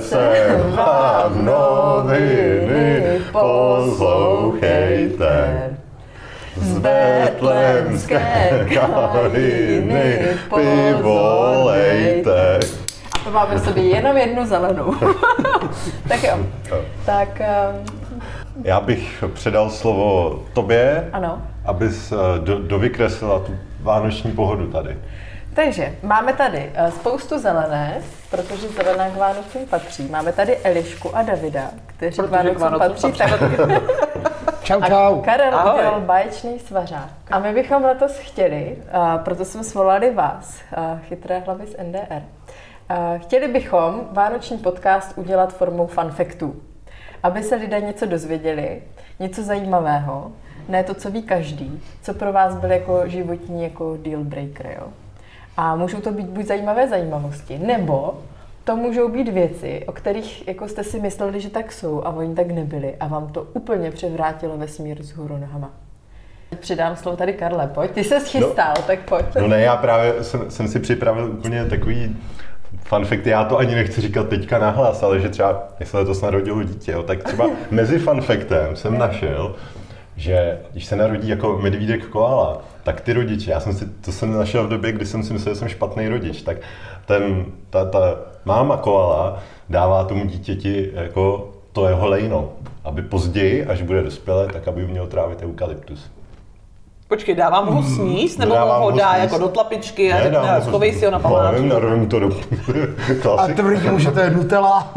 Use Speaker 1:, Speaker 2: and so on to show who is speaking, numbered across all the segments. Speaker 1: se vám noviny, poslouchejte. Z betlémské kaliny pivolejte.
Speaker 2: A to máme v sobě jenom jednu zelenou. tak jo.
Speaker 1: No.
Speaker 2: Tak ehm,
Speaker 1: Já bych předal slovo tobě,
Speaker 2: ano.
Speaker 1: abys eh, do, dovykreslila tu vánoční pohodu tady.
Speaker 2: Takže máme tady eh, spoustu zelené, protože zelená k Vánocům patří. Máme tady Elišku a Davida, kteří k
Speaker 3: Protože
Speaker 2: Vánocům
Speaker 3: k Vánocům
Speaker 2: patří. Tak,
Speaker 4: Čau,
Speaker 2: a
Speaker 4: čau.
Speaker 2: Karel
Speaker 3: Ahoj.
Speaker 2: udělal báječný svařák. A my bychom letos chtěli, a proto jsme svolali vás, a chytré hlavy z NDR, a chtěli bychom vánoční podcast udělat formou fanfektů, aby se lidé něco dozvěděli, něco zajímavého, ne to, co ví každý, co pro vás byl jako životní jako deal breaker, jo. A můžou to být buď zajímavé zajímavosti, nebo to můžou být věci, o kterých jako jste si mysleli, že tak jsou a oni tak nebyli a vám to úplně převrátilo vesmír z hůru nohama. Přidám slovo tady Karle, pojď, ty se schystal, no. tak pojď.
Speaker 1: No ne, já právě jsem, jsem si připravil úplně takový fun fact, já to ani nechci říkat teďka nahlas, ale že třeba, jak se letos narodilo dítě, jo, tak třeba mezi fun factem jsem našel, že když se narodí jako medvídek koala, tak ty rodiče, já jsem si, to jsem našel v době, kdy jsem si myslel, že jsem špatný rodič, tak ten, ta, ta máma koala dává tomu dítěti jako to jeho lejno, aby později, až bude dospělé, tak aby měl trávit eukalyptus.
Speaker 3: Počkej, dávám ho sníst, nebo
Speaker 1: Hmm, Dávám
Speaker 3: mu ho
Speaker 1: ho
Speaker 3: dá
Speaker 1: sníst.
Speaker 3: jako do tlapičky a
Speaker 1: Ne,
Speaker 3: řekne,
Speaker 1: dám ho-
Speaker 3: schovej si ho na
Speaker 1: No, nevím,
Speaker 3: památku.
Speaker 1: narovím to do
Speaker 4: A
Speaker 1: klasik.
Speaker 4: tvrdí mu, že to je Nutella.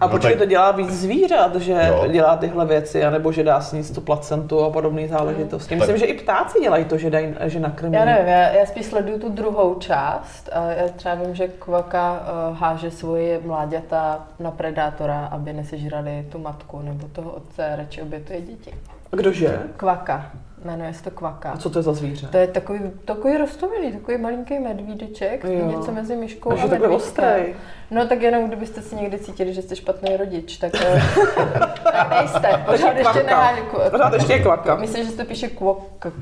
Speaker 3: A počkej,
Speaker 1: no, tak-
Speaker 3: to dělá víc zvířat, že
Speaker 1: Jo.
Speaker 3: dělá tyhle věci, anebo že dá sníst tu placentu a podobné záležitosti. Myslím,
Speaker 1: Tak-
Speaker 3: že i ptáci dělají to, že, dají, že nakrmí.
Speaker 2: Já nevím, já, já spíš sleduju tu druhou část. A já třeba vím, že kvaka eh, háže svoje mláďata na predátora, aby nesežrali tu matku nebo toho otce, radši obětuje děti.
Speaker 3: Kdože?
Speaker 2: Kvaka, jmenuje se to kvaka.
Speaker 3: A co to je za zvíře?
Speaker 2: To je takový, takový rostomilý, takový malinký medvídeček,
Speaker 3: Jo.
Speaker 2: něco mezi myškou
Speaker 3: Takže
Speaker 2: a
Speaker 3: takhle
Speaker 2: medvídkem.
Speaker 3: ostrý.
Speaker 2: No tak jenom kdybyste si někdy cítili, že jste špatný rodič, tak, eh, tak nejste. Pořád ještě jako- neháže
Speaker 3: Pořád ještě je kvaka.
Speaker 2: Myslím, že se to píše kvokka.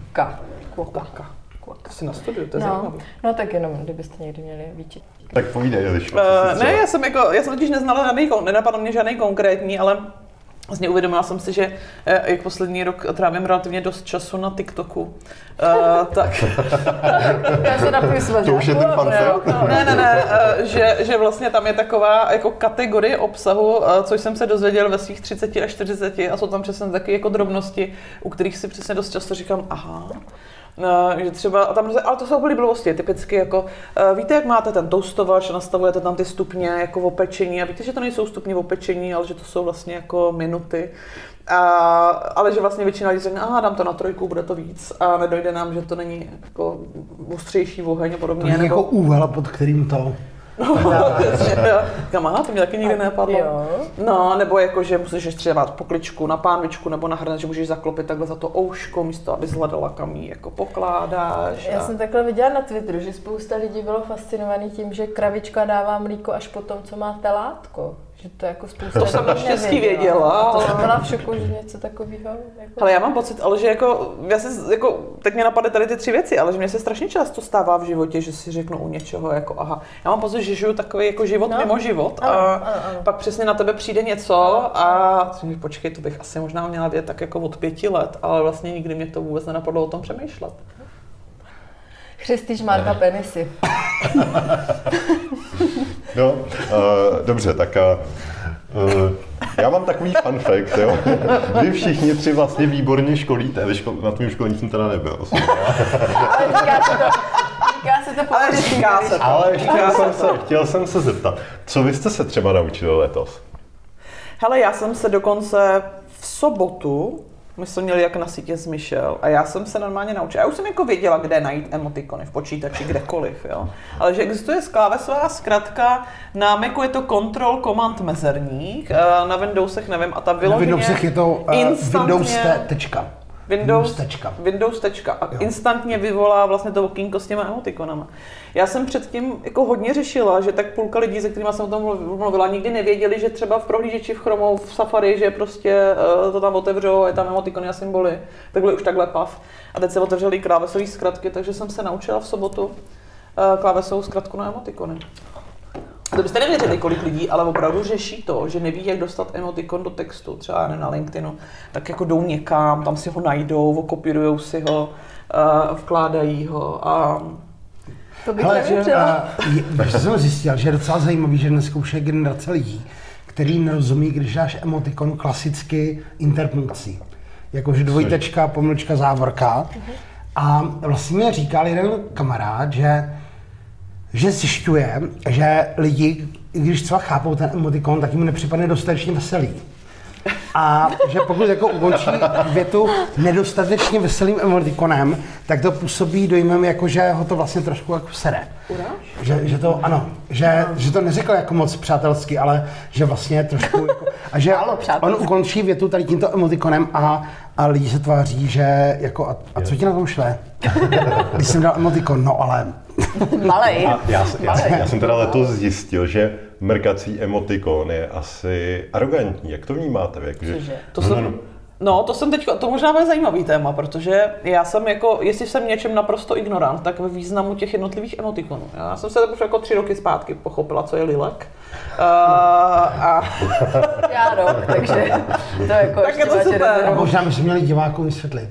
Speaker 2: Kvoka.
Speaker 3: Kvaka.
Speaker 2: Kvaka.
Speaker 3: To si nastuduju, to je
Speaker 2: No,
Speaker 3: zajímavé.
Speaker 2: no tak jenom, kdybyste někdy měli výčit.
Speaker 1: Tak povídej, Eliško.
Speaker 3: Uh, ne, já jsem jako, já jsem totiž neznala žádný, kon- nenapadl mě žádný konkrétní, ale Vlastně uvědomila jsem si, že eh, jak poslední rok trávím relativně dost času na TikToku. Eh, tak,
Speaker 2: Já se napiju svažáku.
Speaker 1: To už je ten
Speaker 2: a
Speaker 1: fun
Speaker 2: bude-
Speaker 1: fact.
Speaker 2: no,
Speaker 3: ne, ne, ne, eh, že, že vlastně tam je taková jako kategorie obsahu, eh, což jsem se dozvěděl ve svých 30 a 40 a jsou tam přesně taky jako drobnosti, u kterých si přesně dost často říkám, aha, No, že třeba, a tam, hrozně- ale to jsou byly blbosti, typicky jako, eh, víte, jak máte ten toustovač, nastavujete tam ty stupně jako v opečení a víte, že to nejsou stupně v opečení, ale že to jsou vlastně jako minuty. A, ale že vlastně většina lidí řekne, aha, dám to na trojku, bude to víc a nedojde nám, že to není jako ostřejší oheň a
Speaker 4: To
Speaker 3: podobně.
Speaker 4: je jako úhel, pod kterým to.
Speaker 3: Říkám, aha, to mě taky nikdy nenapadlo.
Speaker 2: Jo.
Speaker 3: No, nebo jako, že musíš třeba pokličku na pánvičku nebo na hrnec, že můžeš zaklopit takhle za to ouško, místo aby zhledala, kam jí jako pokládáš.
Speaker 2: Já
Speaker 3: a-
Speaker 2: jsem takhle viděla na Twitteru, že spousta lidí bylo fascinovaný tím, že kravička dává mlíko až po tom, co má telátko. Že to jako spousta
Speaker 3: To jsem
Speaker 2: lidí
Speaker 3: naštěstí
Speaker 2: nevěděla.
Speaker 3: věděla,
Speaker 2: To jsem
Speaker 3: ale-
Speaker 2: byla v šoku, že něco takového. Jako...
Speaker 3: Ale já mám pocit, ale že jako, já si, jako, teď mě napadly tady ty tři věci, ale že mě se strašně často stává v životě, že si řeknu u něčeho, jako aha, já mám pocit, že žiju takový jako život
Speaker 2: No.
Speaker 3: no. mimo život a
Speaker 2: Ano, ano, ano.
Speaker 3: pak přesně na tebe přijde něco a si říkáš, počkej, to bych asi možná měla vědět tak jako od pěti let, ale vlastně nikdy mě to vůbec nenapadlo o tom přemýšlet.
Speaker 2: Christy má dva penisy.
Speaker 1: No, uh, dobře, tak uh, já mám takový fun fact, jo. Vy všichni tři vlastně výborně školíte. Vy ško- na tom školení jsem teda nebyl.
Speaker 2: Ale říká se to, říká se to
Speaker 3: Ale říká se to.
Speaker 1: Ale chtěl jsem, se, chtěl jsem se zeptat, co vy jste se třeba naučili letos?
Speaker 3: Hele, já jsem se dokonce v sobotu, my jsme měli jak na sítě s Michel a já jsem se normálně naučila. Já už jsem jako věděla, kde najít emotikony v počítači, kdekoliv, jo. Ale že existuje klávesová zkratka, na Macu je to Control Command mezerník, eh, na Windowsech nevím a ta
Speaker 4: Na
Speaker 3: vyloženě...
Speaker 4: Windowsech je to uh,
Speaker 3: instantně-
Speaker 4: Windows te- tečka.
Speaker 3: Windows,
Speaker 4: tečka.
Speaker 3: Windows tečka. A instantně vyvolá vlastně to okýnko s těma emotikonama. Já jsem předtím jako hodně řešila, že tak půlka lidí, se kterými jsem o tom mluv- mluvila, nikdy nevěděli, že třeba v prohlížeči v Chromu, v Safari, že prostě eh, to tam otevřou a je tam emotikony a symboly. Tak byly už takhle pav. A teď se otevřely klávesové zkratky, takže jsem se naučila v sobotu eh, klávesovou zkratku na emotikony. to byste nevěřili, kolik lidí, ale opravdu řeší to, že neví, jak dostat emotikon do textu, třeba já ne, na LinkedInu, tak jako jdou někam, tam si ho najdou, okopírujou si ho, eh, vkládají ho a
Speaker 2: To bych
Speaker 4: Hele, že,
Speaker 2: nevěřila.
Speaker 4: eh, je- víš, co jsem zjistil, že je docela zajímavý, že dneska už je generace lidí, který nerozumí, když dáš emotikon klasicky interpunkcí. Jakože dvojtečka, pomlčka, závorka.
Speaker 3: Mhm.
Speaker 4: A vlastně mě říkal jeden kamarád, že že zjišťuje, že lidi, i když třeba chápou ten emotikon, tak jim nepřipadne dostatečně veselý. A že pokud jako ukončí větu nedostatečně veselým emotikonem, tak to působí dojmem, jako že ho to vlastně trošku jako sere. Že, že, to, ano, že, že to neřekl jako moc přátelsky, ale že vlastně trošku jako, a že
Speaker 2: Málo
Speaker 4: on
Speaker 2: přátelsky.
Speaker 4: ukončí větu tady tímto emotikonem a, a lidi se tváří, že jako, a, a co ti na tom šle? Když jsem dal emotikon, no ale
Speaker 2: Malej.
Speaker 1: A já, s- já,
Speaker 2: Malej.
Speaker 1: já jsem teda letos zjistil, že mrkací emotikon je asi arrogantní. Jak to vnímáte? vy? Jakože,
Speaker 2: Cože?
Speaker 3: To
Speaker 1: no,
Speaker 3: jsem,
Speaker 1: no, no.
Speaker 3: No, to jsem teď, to možná bude zajímavý téma, protože já jsem jako, jestli jsem v něčem naprosto ignorant, tak ve významu těch jednotlivých emotikonů. Já jsem se už jako tři roky zpátky pochopila, co je lilek. Uh, a
Speaker 2: Já rok, takže to jako
Speaker 3: Tak
Speaker 2: ještě
Speaker 3: je to
Speaker 2: máte
Speaker 3: super.
Speaker 2: rozhodnout.
Speaker 4: možná bychom měli divákům vysvětlit.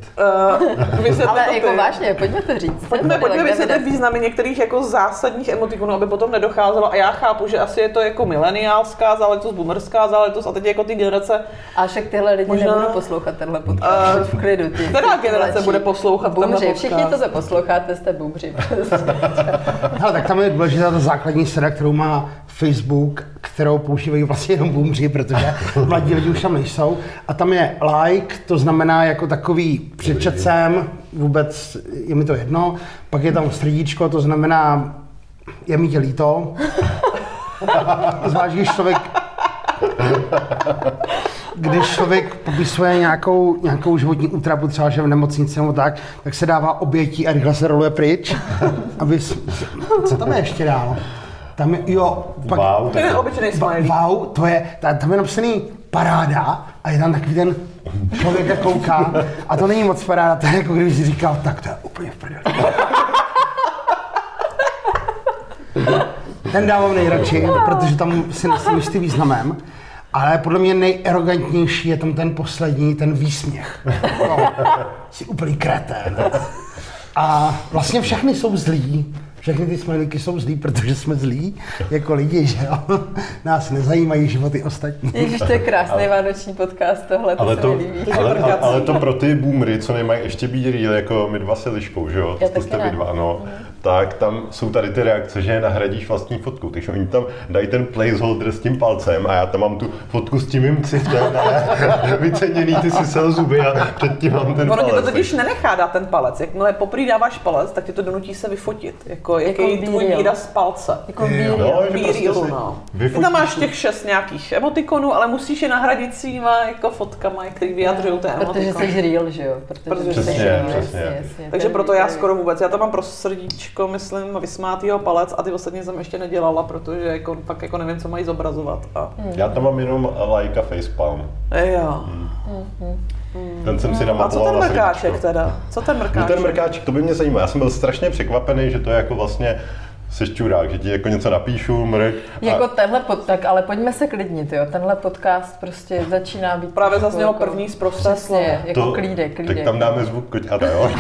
Speaker 3: uh, vysvětli to
Speaker 2: Ale
Speaker 3: ty.
Speaker 2: jako vážně, pojďme to říct.
Speaker 3: Pojďme, pojďme
Speaker 2: Kde
Speaker 3: vysvětlit
Speaker 2: vede?
Speaker 3: významy některých jako zásadních emotikonů, aby potom nedocházelo. A já chápu, že asi je to jako mileniálská záležitost, boomerská záležitost a teď jako ty generace
Speaker 2: A však tyhle lidi
Speaker 3: Možná-
Speaker 2: Možná... nebudou poslouchat tenhle podcast.
Speaker 3: Eh,
Speaker 2: Uh, v klidu. Ty,
Speaker 3: která
Speaker 2: ty
Speaker 3: generace
Speaker 2: mladší.
Speaker 3: bude poslouchat tenhle
Speaker 2: Bumři,
Speaker 3: podcast?
Speaker 2: všichni to zaposloucháte, jste bumři.
Speaker 4: Hele, tak tam je důležitá ta základní sada, kterou má Facebook, kterou používají vlastně jenom boomři, protože mladí lidi už tam nejsou. A tam je like, to znamená jako takový přečecem, vůbec je mi to jedno. Pak je tam srdíčko, to znamená, je mi tě líto. Zvlášť, když člověk když člověk popisuje nějakou, nějakou životní útrapu, třeba že v nemocnici nebo tak, tak se dává obětí a rychle se roluje pryč. Aby, s- co tam je ještě dál? Tam je, jo, pak,
Speaker 1: Wow.
Speaker 3: To je obyčejný smiley.
Speaker 4: wow, to je, ta- tam je napsaný paráda a je tam takový ten člověk jak kouká a to není moc paráda, to je jako kdyby si říkal, tak to je úplně v prdeli. Ten dávám nejradši, protože tam si nesmím s tím významem. Ale podle mě nejerogantnější je tam ten poslední, ten výsměch. No, jsi úplný kretén. A vlastně všechny jsou zlí. Všechny ty smajlíky jsou zlí, protože jsme zlí jako lidi, že jo? Nás nezajímají životy ostatní.
Speaker 2: Ježíš, to je krásný vánoční podcast, tohle to
Speaker 1: Ale
Speaker 2: se mi
Speaker 1: to,
Speaker 2: líbí.
Speaker 1: ale, ale, ale to pro ty boomery, co nemají ještě být real, jako my dva s Eliškou, že jo?
Speaker 2: Já
Speaker 1: To
Speaker 2: taky
Speaker 1: jste
Speaker 2: ne.
Speaker 1: vy dva, no.
Speaker 3: Mhm.
Speaker 1: Tak tam jsou tady ty reakce, že nahradíš vlastní fotku. Takže oni tam dají ten placeholder s tím palcem a já tam mám tu fotku s tím mým citem a vyceněný, ty si sel zuby a předtím mám ten
Speaker 3: Ono ti to
Speaker 1: palec.
Speaker 3: totiž nenechá dát ten palec. Jakmile poprý dáváš palec, tak ti to donutí se vyfotit. Jako, jaký
Speaker 2: Jako
Speaker 3: tvůj
Speaker 2: výril.
Speaker 3: výraz palce.
Speaker 2: Jako víno.
Speaker 1: no, že
Speaker 3: Be
Speaker 1: prostě
Speaker 3: realu,
Speaker 1: si
Speaker 3: no. Ty
Speaker 1: vyfotíš
Speaker 3: tam máš
Speaker 1: tu-
Speaker 3: těch šest nějakých emotikonů, ale musíš je nahradit svýma jako fotkama, který vyjadřují ty
Speaker 2: Protože
Speaker 3: emotikony.
Speaker 2: jsi real, že jo? Protože,
Speaker 3: Protože
Speaker 2: jsi
Speaker 3: Přesně,
Speaker 2: real,
Speaker 1: přesně.
Speaker 2: to
Speaker 3: Takže
Speaker 2: je
Speaker 3: proto já
Speaker 2: výborný.
Speaker 3: skoro vůbec. Já tam mám pro srdíčko, myslím, vysmátýho palec a ty ostatní jsem ještě nedělala, protože jako, fakt jako nevím, co mají zobrazovat. A...
Speaker 2: Hmm.
Speaker 1: Já tam mám jenom like a facepalm.
Speaker 3: Jo.
Speaker 1: Ten jsem si
Speaker 3: Mhm. A co ten
Speaker 1: namapoval na
Speaker 3: mrkáček
Speaker 1: srdíčko.
Speaker 3: teda? Co ten
Speaker 1: No
Speaker 3: mrkáček?
Speaker 1: ten mrkáček, to by mě zajímalo. Já jsem byl strašně překvapený, že to je jako vlastně sešťurák, že ti jako něco napíšu, mrk. a-
Speaker 2: Jako tenhle pod, tak ale pojďme se klidnit, jo. Tenhle podcast prostě začíná být...
Speaker 3: Právě
Speaker 2: trošku
Speaker 3: zaznělo
Speaker 2: jako-
Speaker 3: první zprosté slovo.
Speaker 2: Přesně, jako klídek, klídek.
Speaker 1: Tak tam dáme zvuk koťata, jo?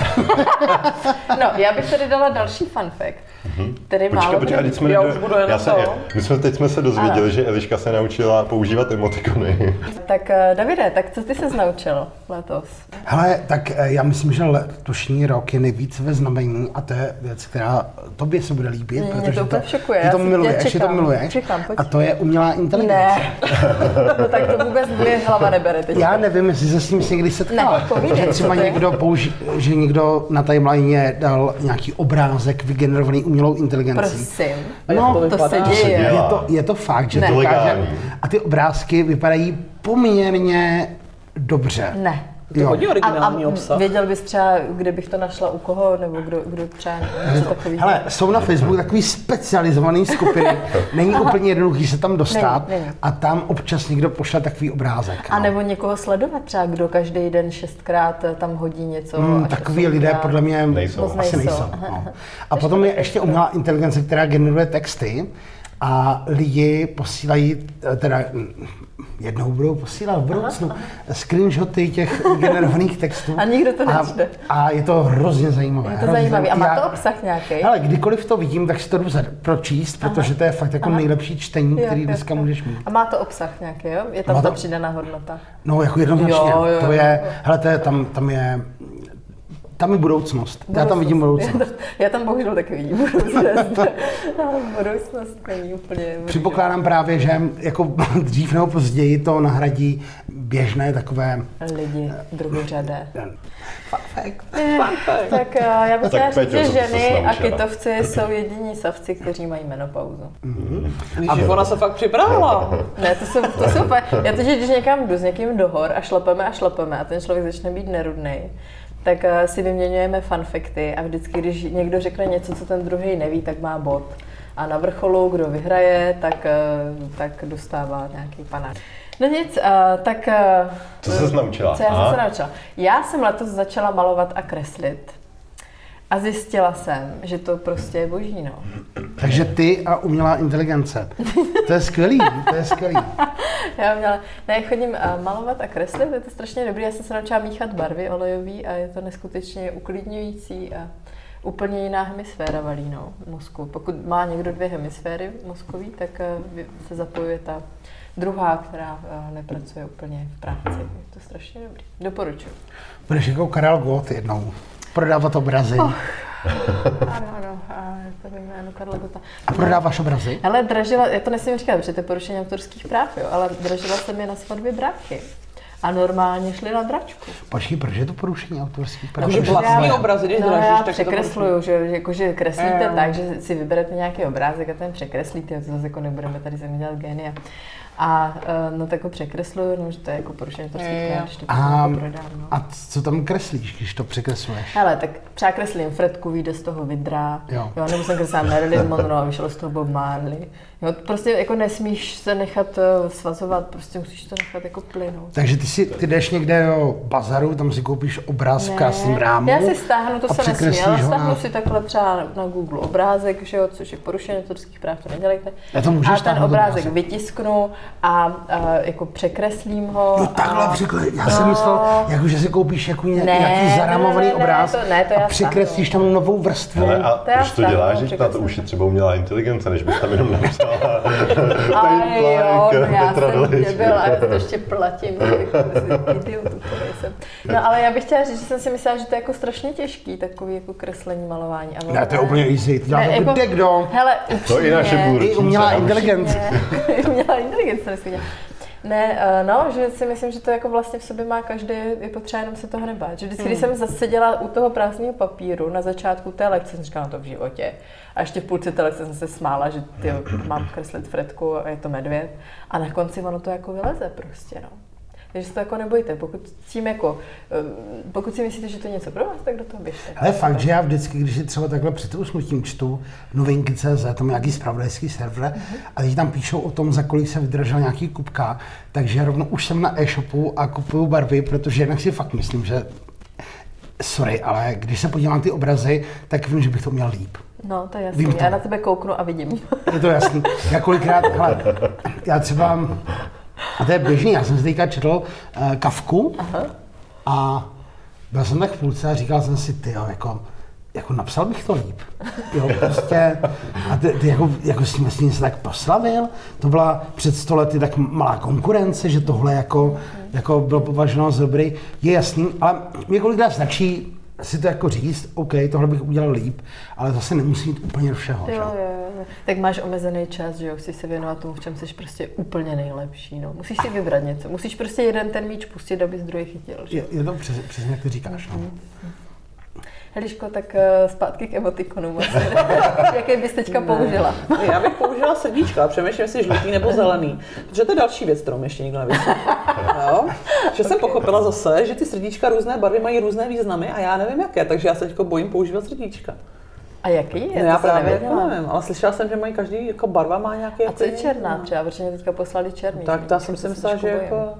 Speaker 2: No, já bych tady dala další fun fact, který
Speaker 1: Mhm. Počkej,
Speaker 2: málo
Speaker 1: počkej, a teď jsme
Speaker 3: Já
Speaker 1: nedo-
Speaker 3: už budu jenom
Speaker 1: já se,
Speaker 3: to.
Speaker 1: my jsme, teď jsme se dozvěděli,
Speaker 2: Ano.
Speaker 1: že Eliška se naučila používat emotikony.
Speaker 2: Tak eh, Davide, tak co ty se naučil letos?
Speaker 4: Hele, tak eh, já myslím, že letošní rok je nejvíc ve znamení a to je věc, která tobě se bude líbit,
Speaker 2: Mě to
Speaker 4: protože
Speaker 2: úplně šokuje,
Speaker 4: ty
Speaker 2: já
Speaker 4: to
Speaker 2: si- já
Speaker 4: miluješ, ty to
Speaker 2: čekám,
Speaker 4: miluješ.
Speaker 2: čekám, pojď.
Speaker 4: a to je umělá inteligence.
Speaker 2: no, tak to vůbec mě hlava nebere teď.
Speaker 4: Já nevím, jestli se s ním se někdy setkala.
Speaker 2: Ne, povídej,
Speaker 4: že třeba
Speaker 2: co to je?
Speaker 4: někdo, použi- že někdo na timeline dal nějaký obrázek vygenerovaný umělou inteligencí.
Speaker 2: Prosím.
Speaker 4: No,
Speaker 2: to,
Speaker 3: vypadá?
Speaker 2: se
Speaker 3: To se
Speaker 2: děje.
Speaker 1: děje.
Speaker 4: Je to, je to fakt, že
Speaker 2: Ne.
Speaker 4: to
Speaker 1: Legální.
Speaker 4: dokáže. A ty obrázky vypadají poměrně dobře.
Speaker 2: Ne.
Speaker 3: To hodně
Speaker 2: A,
Speaker 3: originální
Speaker 2: a
Speaker 3: obsah.
Speaker 2: věděl bys třeba, kde bych to našla, u koho, nebo kdo, kdo třeba něco takový.
Speaker 4: Hele, jsou na Facebooku takový specializovaný skupiny. Není úplně jednoduchý se tam dostat.
Speaker 2: Není, není.
Speaker 4: A tam občas někdo pošle takový obrázek.
Speaker 2: A
Speaker 4: no.
Speaker 2: nebo někoho sledovat třeba, kdo každý den šestkrát eh, tam hodí něco.
Speaker 4: Mm,
Speaker 2: až
Speaker 4: takový
Speaker 2: osmkrát.
Speaker 4: lidé podle mě
Speaker 1: Nejsou.
Speaker 4: asi
Speaker 2: Moc nejsou.
Speaker 4: nejsou. No. A potom je ještě umělá inteligence, která generuje texty. a lidi posílají, eh, teda mm, jednou budou posílat v budoucnu screenshoty těch generovaných textů.
Speaker 2: A nikdo to
Speaker 4: A-
Speaker 2: nečte.
Speaker 4: A je to hrozně zajímavé.
Speaker 2: Je to
Speaker 4: hrozně
Speaker 2: zajímavé. A má
Speaker 4: Já-
Speaker 2: to obsah nějaký?
Speaker 4: ale kdykoliv to vidím, tak si to jdu za- pročíst, protože to je fakt jako nejlepší čtení,
Speaker 2: Jo,
Speaker 4: který
Speaker 2: jo,
Speaker 4: dneska
Speaker 2: jo.
Speaker 4: můžeš mít.
Speaker 2: A má to obsah nějaký, jo? Je tam
Speaker 4: Má
Speaker 2: ta
Speaker 4: to-
Speaker 2: přidaná hodnota.
Speaker 4: No, jako jednoznačně.
Speaker 2: Jo, jo,
Speaker 4: to
Speaker 2: jo.
Speaker 4: je, hele, to je, tam, tam je, tam je budoucnost. Já tam vidím budoucnost.
Speaker 2: Já tam, já tam bohužel taky vidím budoucnost. budoucnost není úplně...
Speaker 4: Připokládám právě, že jako dřív nebo později to nahradí běžné takové
Speaker 2: Lidi druhořadé.
Speaker 3: Fakt. Fakt.
Speaker 2: Tak eh, já bych
Speaker 1: Tak
Speaker 2: chtěla říct,
Speaker 1: Peťo,
Speaker 2: že
Speaker 1: co jsi se
Speaker 2: ženy a
Speaker 1: naučila?
Speaker 2: kytovci jsou jediní savci, kteří mají menopauzu.
Speaker 3: A ona se fakt připravila.
Speaker 2: Ne, to jsou, to jsou fakt. Já to, že když někam jdu s někým do hor a šlapeme a šlapeme a ten člověk začne být nerudný, tak eh, si vyměňujeme fanfekty a vždycky, když někdo řekne něco, co ten druhý neví, tak má bod. A na vrcholu, kdo vyhraje, tak, eh, tak dostává nějaký panák. No nic, eh, tak... eh,
Speaker 1: Co ses naučila?
Speaker 2: Co já jsem
Speaker 1: A?
Speaker 2: se naučila? Já jsem letos začala malovat a kreslit. A zjistila jsem, že to prostě je boží, no.
Speaker 4: Takže ty a umělá inteligence. To je skvělý, to je skvělý.
Speaker 2: Já měla, ne, chodím a malovat a kreslit, je to strašně dobrý, já jsem se naučila míchat barvy olejový a je to neskutečně uklidňující a úplně jiná hemisféra valí no, mozku. Pokud má někdo dvě hemisféry mozkový, tak eh, vy- se zapojuje ta druhá, která eh, nepracuje úplně v práci. Je to strašně dobrý. Doporučuji.
Speaker 4: Budeš jako Karel Gott jednou. Prodávat obrazy.
Speaker 2: Oh. Ano, ano, a to by jméno Karla Gota.
Speaker 4: A prodáváš obrazy?
Speaker 2: Ale dražila, já to nesmím říkat, protože to je porušení autorských práv, jo, ale dražila jsem je na svatbě bráchy. A normálně šli na dračku.
Speaker 4: Počkej, proč je to porušení autorských práv?
Speaker 3: Takže
Speaker 4: Proč je-
Speaker 3: vlastní obrazy, když
Speaker 2: no,
Speaker 3: dražíš,
Speaker 2: já
Speaker 3: tak je to
Speaker 2: překresluju,
Speaker 3: vlastně.
Speaker 2: že, jako, že kreslíte
Speaker 3: Mm.
Speaker 2: tak, že si vyberete nějaký obrázek a ten překreslíte, to zase jako nebudeme tady se mi dělat genia. A eh, no tak ho překresluju, no, že to je jako porušení autorských
Speaker 3: Eh, Jo.
Speaker 2: práv, když to
Speaker 4: A,
Speaker 2: potom prodám. No.
Speaker 4: a co tam kreslíš, když to překresluješ?
Speaker 2: Hele, tak třeba kreslím Fredku, vyjde z toho vidra,
Speaker 4: Jo.
Speaker 2: jo. jo nebo jsem kreslila Marilyn Monroe a vyšlo z toho Bob Marley. Jo, prostě jako nesmíš se nechat eh, svazovat, prostě musíš to nechat jako plynout.
Speaker 4: Takže ty, si, ty jdeš někde do bazaru, tam si koupíš obraz v
Speaker 2: Ne,
Speaker 4: krásném rámu.
Speaker 2: Já si stáhnu, to
Speaker 4: a
Speaker 2: se nesmí,
Speaker 4: překreslíš
Speaker 2: ale
Speaker 4: ho
Speaker 2: stáhnu
Speaker 4: na-
Speaker 2: si takhle třeba na Google obrázek, že jo, což je porušení autorských práv, to nedělejte.
Speaker 4: Já to můžeš
Speaker 2: a ten
Speaker 4: stáhnout
Speaker 2: obrázek
Speaker 4: obrázek.
Speaker 2: vytisknu a, a jako překreslím ho.
Speaker 4: No takhle
Speaker 2: a... No.
Speaker 4: překle. Já jsem myslel, jako, že si koupíš jako ně,
Speaker 2: Ne,
Speaker 4: nějaký zarámovaný
Speaker 2: ne, ne, ne,
Speaker 4: obráz
Speaker 2: to- ne, to no.
Speaker 4: a
Speaker 2: já
Speaker 4: překreslíš tam novou vrstvu.
Speaker 1: Ale a
Speaker 2: To já
Speaker 1: už No, to
Speaker 2: vstanu,
Speaker 1: děláš, že na to
Speaker 2: překreslím.
Speaker 1: už je třeba umělá inteligence, než bys tam jenom napsala.
Speaker 2: Ale jo, no já
Speaker 1: Petra
Speaker 2: jsem
Speaker 1: Dolejš.
Speaker 2: debil a já to ještě platím. jako idiotu, který jsem. No ale já bych chtěla říct, že jsem si myslela, že to je jako strašně těžký, takový jako kreslení, malování. Ale
Speaker 4: Ne, to je úplně easy, to dělá to kde kdo.
Speaker 2: jako- Hele,
Speaker 1: To
Speaker 2: upřímně,
Speaker 1: i naše
Speaker 4: I
Speaker 1: půlročnice.
Speaker 4: umělá
Speaker 1: já už-
Speaker 4: inteligence.
Speaker 2: ne, jako Umělá inteligence nesmí Ne, eh, no, že si myslím, že to jako vlastně v sobě má každý, je potřeba jenom se toho nebát. Že vždycky, když
Speaker 4: Hmm.
Speaker 2: jsem zase seděla u toho prázdného papíru na začátku té lekce, jsem říkala "No to v životě. A ještě v půlce té lekce jsem se smála, že ty mám kreslit fretku a je to medvěd. A na konci ono to jako vyleze prostě, no. Takže se to jako nebojte, pokud, s tím jako, eh, pokud si myslíte, že to je něco pro vás, tak do toho běžte.
Speaker 4: Ale fakt, že já vždycky, když si třeba takhle před usnutím čtu novinky CZ, tam nějaký spravodajský server, a teď tam píšou o tom, za kolik se vydržel nějaký kupka, takže rovno už jsem na e-shopu a kupuju barvy, protože jinak si fakt myslím, že sorry, ale když se podívám na ty obrazy, tak vím, že bych to měl líp.
Speaker 2: No, to je
Speaker 4: Vím
Speaker 2: jasný.
Speaker 4: to.
Speaker 2: Já na tebe kouknu a vidím.
Speaker 4: Je to jasný. Já kolikrát, hele, já třeba, a to je běžný, já jsem si teďka četl uh, kavku a byl jsem tak v půlce a říkal jsem si, ty jako, jako napsal bych to líp. Jo, prostě, a ty, ty jako, jako s tím vlastně se tak proslavil, to byla před sto lety tak malá konkurence, že tohle jako, jako bylo považováno za dobrý, je jasný, ale mě kolikrát stačí si to jako říct, OK, tohle bych udělal líp, ale zase nemusí jít úplně do všeho. že
Speaker 2: Jo,
Speaker 4: jo.
Speaker 2: jo, jo. Tak máš omezený čas, že jo, chceš se věnovat tomu, v čem jsi prostě úplně nejlepší, no. Musíš si vybrat něco, musíš prostě jeden ten míč pustit, abys druhý chytil, že?
Speaker 4: Je, je to přes, přesně, jak ty říkáš. No.
Speaker 2: Heliško, tak eh, zpátky k emotikonům asi. Jaký bys teďka použila?
Speaker 3: Já bych použila srdíčka, ale přemýšlím, jestli žlutý nebo zelený. Protože to je další věc, kterou mi ještě nikdo nevysvětlil. Jo? Že jsem pochopila zase, že ty srdíčka různé barvy mají různé významy a já nevím jaké, takže já se teď bojím používat srdíčka.
Speaker 2: A jaký?
Speaker 3: Já,
Speaker 2: to
Speaker 3: já
Speaker 2: se
Speaker 3: právě
Speaker 2: nevěděla.
Speaker 3: jako nevím, ale slyšela jsem, že mají každý jako barva má nějaký.
Speaker 2: A
Speaker 3: jako
Speaker 2: co je
Speaker 3: jiný-
Speaker 2: černá třeba, protože mě teďka poslali černý.
Speaker 3: Tak to já jsem si
Speaker 2: To
Speaker 3: myslela, že
Speaker 2: trošku bojím.
Speaker 3: jako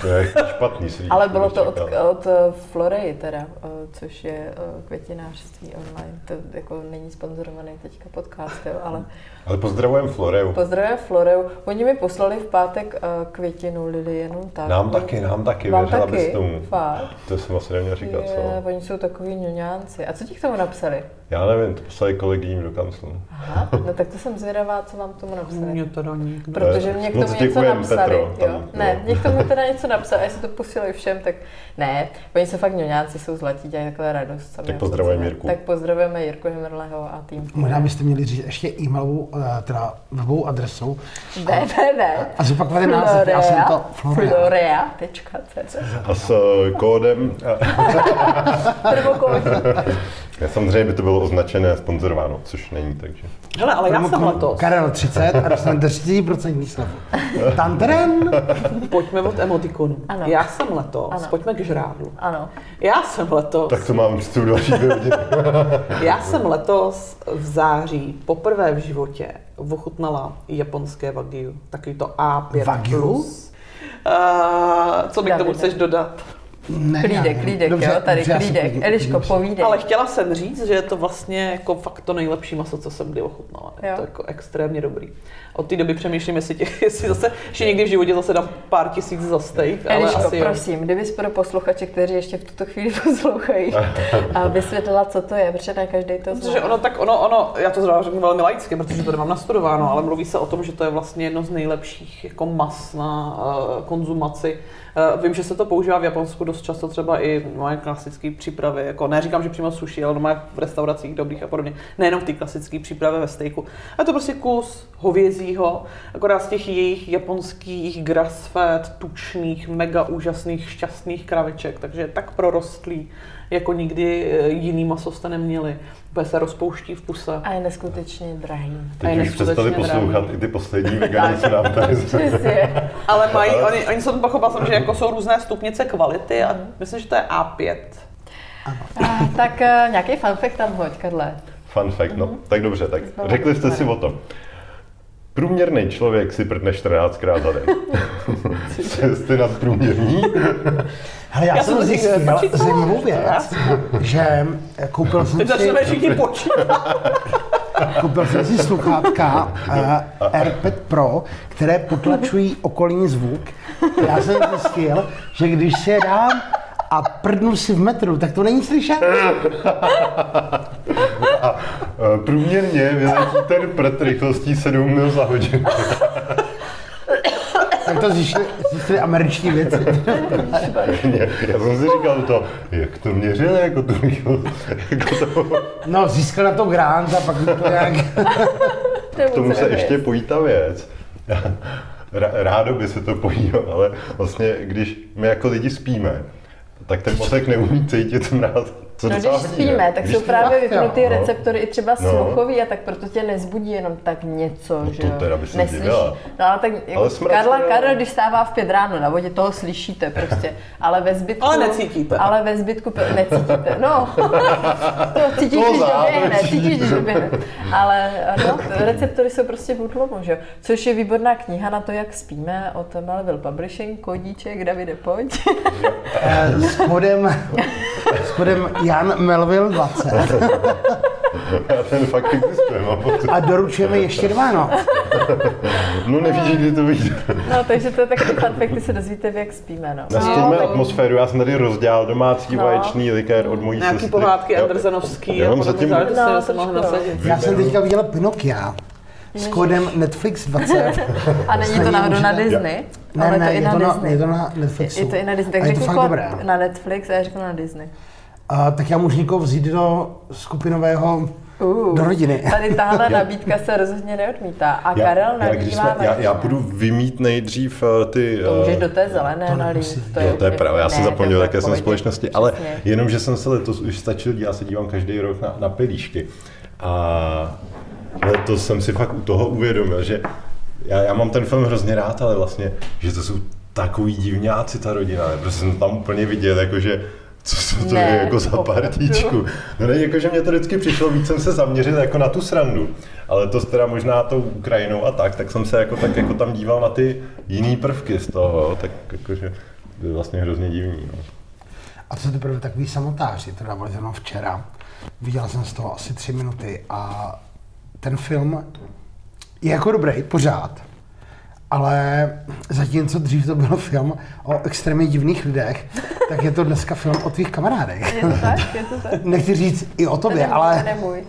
Speaker 1: To je špatný prostě srdíčko.
Speaker 2: Ale bylo
Speaker 1: bych
Speaker 2: to od,
Speaker 1: čekal.
Speaker 2: od Floreji teda, eh, což je eh, květinářství online. To jako není sponzorovaný teďka podcast, jo, ale
Speaker 1: Ale pozdravujem Floreu.
Speaker 2: pozdravím Floreu. Oni mi poslali v pátek eh, květinu lili jenom tak.
Speaker 1: Nám taky, nám taky,
Speaker 2: Vám
Speaker 1: věřila
Speaker 2: taky?
Speaker 1: bys tomu.
Speaker 2: Fakt?
Speaker 1: To jsem asi neměl říkat,
Speaker 2: Je,
Speaker 1: co?
Speaker 2: oni jsou takový ňoňánci. A co ti k tomu napsali?
Speaker 1: Já nevím, to poslali kolegyním do kanclu.
Speaker 2: Aha, no tak to jsem zvědavá, co vám k tomu napsali.
Speaker 3: Mě to do nikdo.
Speaker 2: Protože
Speaker 1: To je-
Speaker 2: mě k
Speaker 1: moc
Speaker 2: tomu něco
Speaker 1: děkujem,
Speaker 2: napsali.
Speaker 1: Petro, tam,
Speaker 2: jo?
Speaker 1: jo.
Speaker 2: Ne, mě k tomu teda něco napsali a jestli to posílají všem, tak ne. Oni jsou fakt ňoňáci, jsou zlatí, dělají takhle radost. sami
Speaker 1: Tak
Speaker 2: od
Speaker 1: pozdravujeme
Speaker 2: sebe.
Speaker 1: Jirku.
Speaker 2: Tak pozdravujeme Jirku Hemrleho a tým.
Speaker 4: Možná byste měli říct ještě e-mailovou, eh, teda webovou adresou.
Speaker 2: Ne, ne, ne.
Speaker 4: A zopakovat ten název, já jsem to Florea.
Speaker 2: Florea.cz
Speaker 1: A s eh, kódem, a- a samozřejmě by to bylo označené a sponzorováno, což není, takže.
Speaker 3: Hele, ale já jsem letos.
Speaker 4: Karel 30 a dostanete 30% slevu. Tanteren!
Speaker 3: Pojďme od emotikonů.
Speaker 2: Ano.
Speaker 3: Já jsem letos.
Speaker 2: Ano.
Speaker 3: Pojďme k žrádlu.
Speaker 2: Ano.
Speaker 3: Já jsem letos.
Speaker 1: Tak to mám před další dvě hodiny.
Speaker 3: Já jsem letos v září poprvé v životě ochutnala japonské wagyu, takový to A5+.
Speaker 4: Wagyu?
Speaker 3: Plus. Uh, co mi k tomu
Speaker 2: Davide.
Speaker 3: chceš dodat?
Speaker 4: Ne,
Speaker 2: Klídek,
Speaker 4: ne,
Speaker 2: klídek,
Speaker 4: dobře,
Speaker 2: jo, tady
Speaker 4: dobře, já si
Speaker 2: klídek.
Speaker 4: klidně-
Speaker 2: Eliško,
Speaker 4: klidně přijdu.
Speaker 2: povídej.
Speaker 3: Ale chtěla jsem říct, že je to vlastně jako fakt to nejlepší maso, co jsem kdy ochutnala. Je
Speaker 2: Jo.
Speaker 3: to jako extrémně dobrý. Od té doby přemýšlím, jestli, tě, jestli zase, že někdy v životě zase dám pár tisíc za steak, ale
Speaker 2: Eliško,
Speaker 3: asi jo.
Speaker 2: prosím, kdybys pro posluchače, kteří ještě v tuto chvíli poslouchají, a vysvětlila, co to je, protože ne každý to zná.
Speaker 3: Protože ono tak, ono, ono, já to zrovna řeknu velmi laicky, protože to nemám nastudováno, ale mluví se o tom, že to je vlastně jedno z nejlepších jako mas na uh, konzumaci. Uh, vím, že se to používá v Japonsku dost často třeba i moje klasické přípravy, jako neříkám, že přímo sushi, ale normálně v restauracích dobrých a podobně, nejenom v té klasické přípravě ve stejku. A je to prostě kus hovězího, akorát z těch jejich japonských grassfed, tučných, mega úžasných, šťastných kraveček, takže je tak prorostlý, jako nikdy eh, jiný maso jste neměli. Úplně se rozpouští v puse.
Speaker 2: A je neskutečně drahý.
Speaker 3: A je
Speaker 1: Teď už přestali
Speaker 3: neskutečně
Speaker 1: poslouchat
Speaker 3: drahý.
Speaker 1: i ty poslední vegani, co nám tady
Speaker 2: Přesně.
Speaker 3: Ale mají, oni, oni jsou to pochopili, jsem, že jako jsou různé stupnice kvality a myslím, že to je A5.
Speaker 2: A, tak eh, nějaký fanfakt tam hoď, Karle.
Speaker 1: Fun fact, no. Tak dobře, tak
Speaker 2: Znovu
Speaker 1: řekli jste si
Speaker 2: super.
Speaker 1: o tom. Průměrný člověk si prdne 14krát za den. Jste nad průměrní?
Speaker 4: Hele, já,
Speaker 3: Já jsem
Speaker 4: jsem
Speaker 3: to
Speaker 4: zjistil
Speaker 3: někde počítala,
Speaker 4: zajímavou věc,
Speaker 3: že
Speaker 4: že koupil jsem
Speaker 3: Teď
Speaker 4: si,
Speaker 3: začneme všichni počítat.
Speaker 4: koupil jsem si Jako sluchátka uh, AirPod Pro, které potlačují okolní zvuk. Já jsem zjistil, že když si je dám a prdnu si v metru, tak to není slyšet.
Speaker 1: Eh, Průměrně vyletí ten prd rychlostí 7 mil za hodinu.
Speaker 4: Tak to zjistili, zjistili američtí věci.
Speaker 1: Já jsem si říkal to, jak to měřil, jako tu rychlost, jako to.
Speaker 4: No, získal na to grant a pak to nějak...
Speaker 1: K tomu se ještě pojí ta věc. Ra- Rádo by se to pojilo, ale vlastně, když my jako lidi spíme, tak ten mozek neumí cítit mráz. Co
Speaker 2: No,
Speaker 1: docela
Speaker 2: když
Speaker 1: hodí, ne?
Speaker 2: spíme, tak
Speaker 1: Když
Speaker 2: jsou právě
Speaker 4: jo,
Speaker 2: vypnutý
Speaker 4: no.
Speaker 2: receptory i třeba
Speaker 1: No.
Speaker 2: sluchový a tak proto tě nezbudí jenom tak něco,
Speaker 1: No
Speaker 2: že
Speaker 1: to
Speaker 2: jo.
Speaker 1: teda by se
Speaker 2: Neslyší.
Speaker 1: divila.
Speaker 2: No ale tak jako
Speaker 1: Ale smrad
Speaker 2: Karla,
Speaker 1: teda-
Speaker 2: Karel, když stává v pět ráno na vodě, toho slyšíte prostě, ale ve zbytku...
Speaker 3: Ale necítíte.
Speaker 2: Ale ve zbytku pe- necítíte, no. to cítíš,
Speaker 1: To
Speaker 2: když doběhne,
Speaker 1: záleží.
Speaker 2: cítíš, když doběhne. Ale no, receptory jsou prostě v útlumu, že jo. Což je výborná kniha na to, jak spíme od Melville Publishing, Kodíček, Davide, pojď.
Speaker 4: Eh, S kodem, s kodem Jan Melville 20.
Speaker 1: A ten fakt existuje, mám pocit.
Speaker 4: A doručujeme ještě dva, no.
Speaker 1: No nevíš, kdy to vidíte.
Speaker 2: No, takže to je takový fun fact, ty se dozvíte, jak spíme, no.
Speaker 1: Nastolme atmosféru, já jsem tady rozdělal domácí
Speaker 2: No.
Speaker 1: vaječný likér od mojí
Speaker 3: Nějaký
Speaker 1: sestry.
Speaker 3: pohádky
Speaker 1: Jo.
Speaker 3: Andersenovský
Speaker 1: Já
Speaker 3: a
Speaker 1: mám
Speaker 3: podobně
Speaker 1: zatím-
Speaker 3: záležitosti,
Speaker 2: No,
Speaker 3: no, se mohl
Speaker 2: trošku, jo.
Speaker 3: nasadit.
Speaker 4: Já jsem teďka viděla Pinokia s kodem Netflix 20.
Speaker 2: A není to
Speaker 4: Stejně
Speaker 2: náhodou na
Speaker 4: můžeme-
Speaker 2: Disney?
Speaker 4: Ne,
Speaker 2: ale
Speaker 4: ne,
Speaker 2: je to i
Speaker 4: je
Speaker 2: na
Speaker 4: to, na,
Speaker 2: Disney.
Speaker 4: je to na Netflixu.
Speaker 2: je to i na Disney,
Speaker 4: A
Speaker 2: tak
Speaker 4: je to
Speaker 2: řekni
Speaker 4: fakt
Speaker 2: kód
Speaker 4: dobré.
Speaker 2: na Netflix a já řeknu na Disney.
Speaker 4: A, tak já můžu někoho vzít do skupinového, Uh.
Speaker 2: Uh.
Speaker 4: do rodiny.
Speaker 2: Tady tahle nabídka se rozhodně neodmítá. A
Speaker 1: Já,
Speaker 2: Karel
Speaker 1: já, když
Speaker 2: nabývá
Speaker 1: jsme, já, já
Speaker 2: vajíčka.
Speaker 1: budu vymít nejdřív eh, ty...
Speaker 2: To můžeš
Speaker 1: eh,
Speaker 2: do té zelené
Speaker 4: to
Speaker 2: nalít.
Speaker 4: nemusí.
Speaker 1: Jo, to je
Speaker 2: úplně-
Speaker 1: pravda, já jsem
Speaker 2: ne,
Speaker 1: zapomněl,
Speaker 2: to je
Speaker 1: jaké jsem
Speaker 2: pohodě.
Speaker 1: společnosti, ale
Speaker 2: Přesně.
Speaker 1: jenom, že jsem se letos už stačil, já se dívám každý rok na, na pilíšky a letos jsem si fakt u toho uvědomil, že já, já mám ten film hrozně rád, ale vlastně, že to jsou takový divňáci ta rodina, ne? prostě jsem tam úplně viděl, jakože co se to
Speaker 2: Ne,
Speaker 1: je jako za
Speaker 2: opravdu.
Speaker 1: partičku. No ne, jakože mě to vždycky přišlo, víc jsem se zaměřil jako na tu srandu, ale to teda možná tou Ukrajinou a tak, tak jsem se jako tak jako tam díval na ty jiný prvky z toho, jo, tak jakože To je vlastně hrozně divný. No.
Speaker 4: A co teprve takový samotáři, to dávali zrovna včera. Viděl jsem z toho asi tři minuty a ten film je jako dobrý, pořád. Ale zatímco dřív to byl film o extrémně divných lidech, tak je to dneska film o tvých kamarádech.
Speaker 2: Je to tak? Je to tak?
Speaker 4: Nechci říct i o
Speaker 2: To
Speaker 4: tobě,
Speaker 2: nemůj, to
Speaker 4: ale,
Speaker 2: nemůj.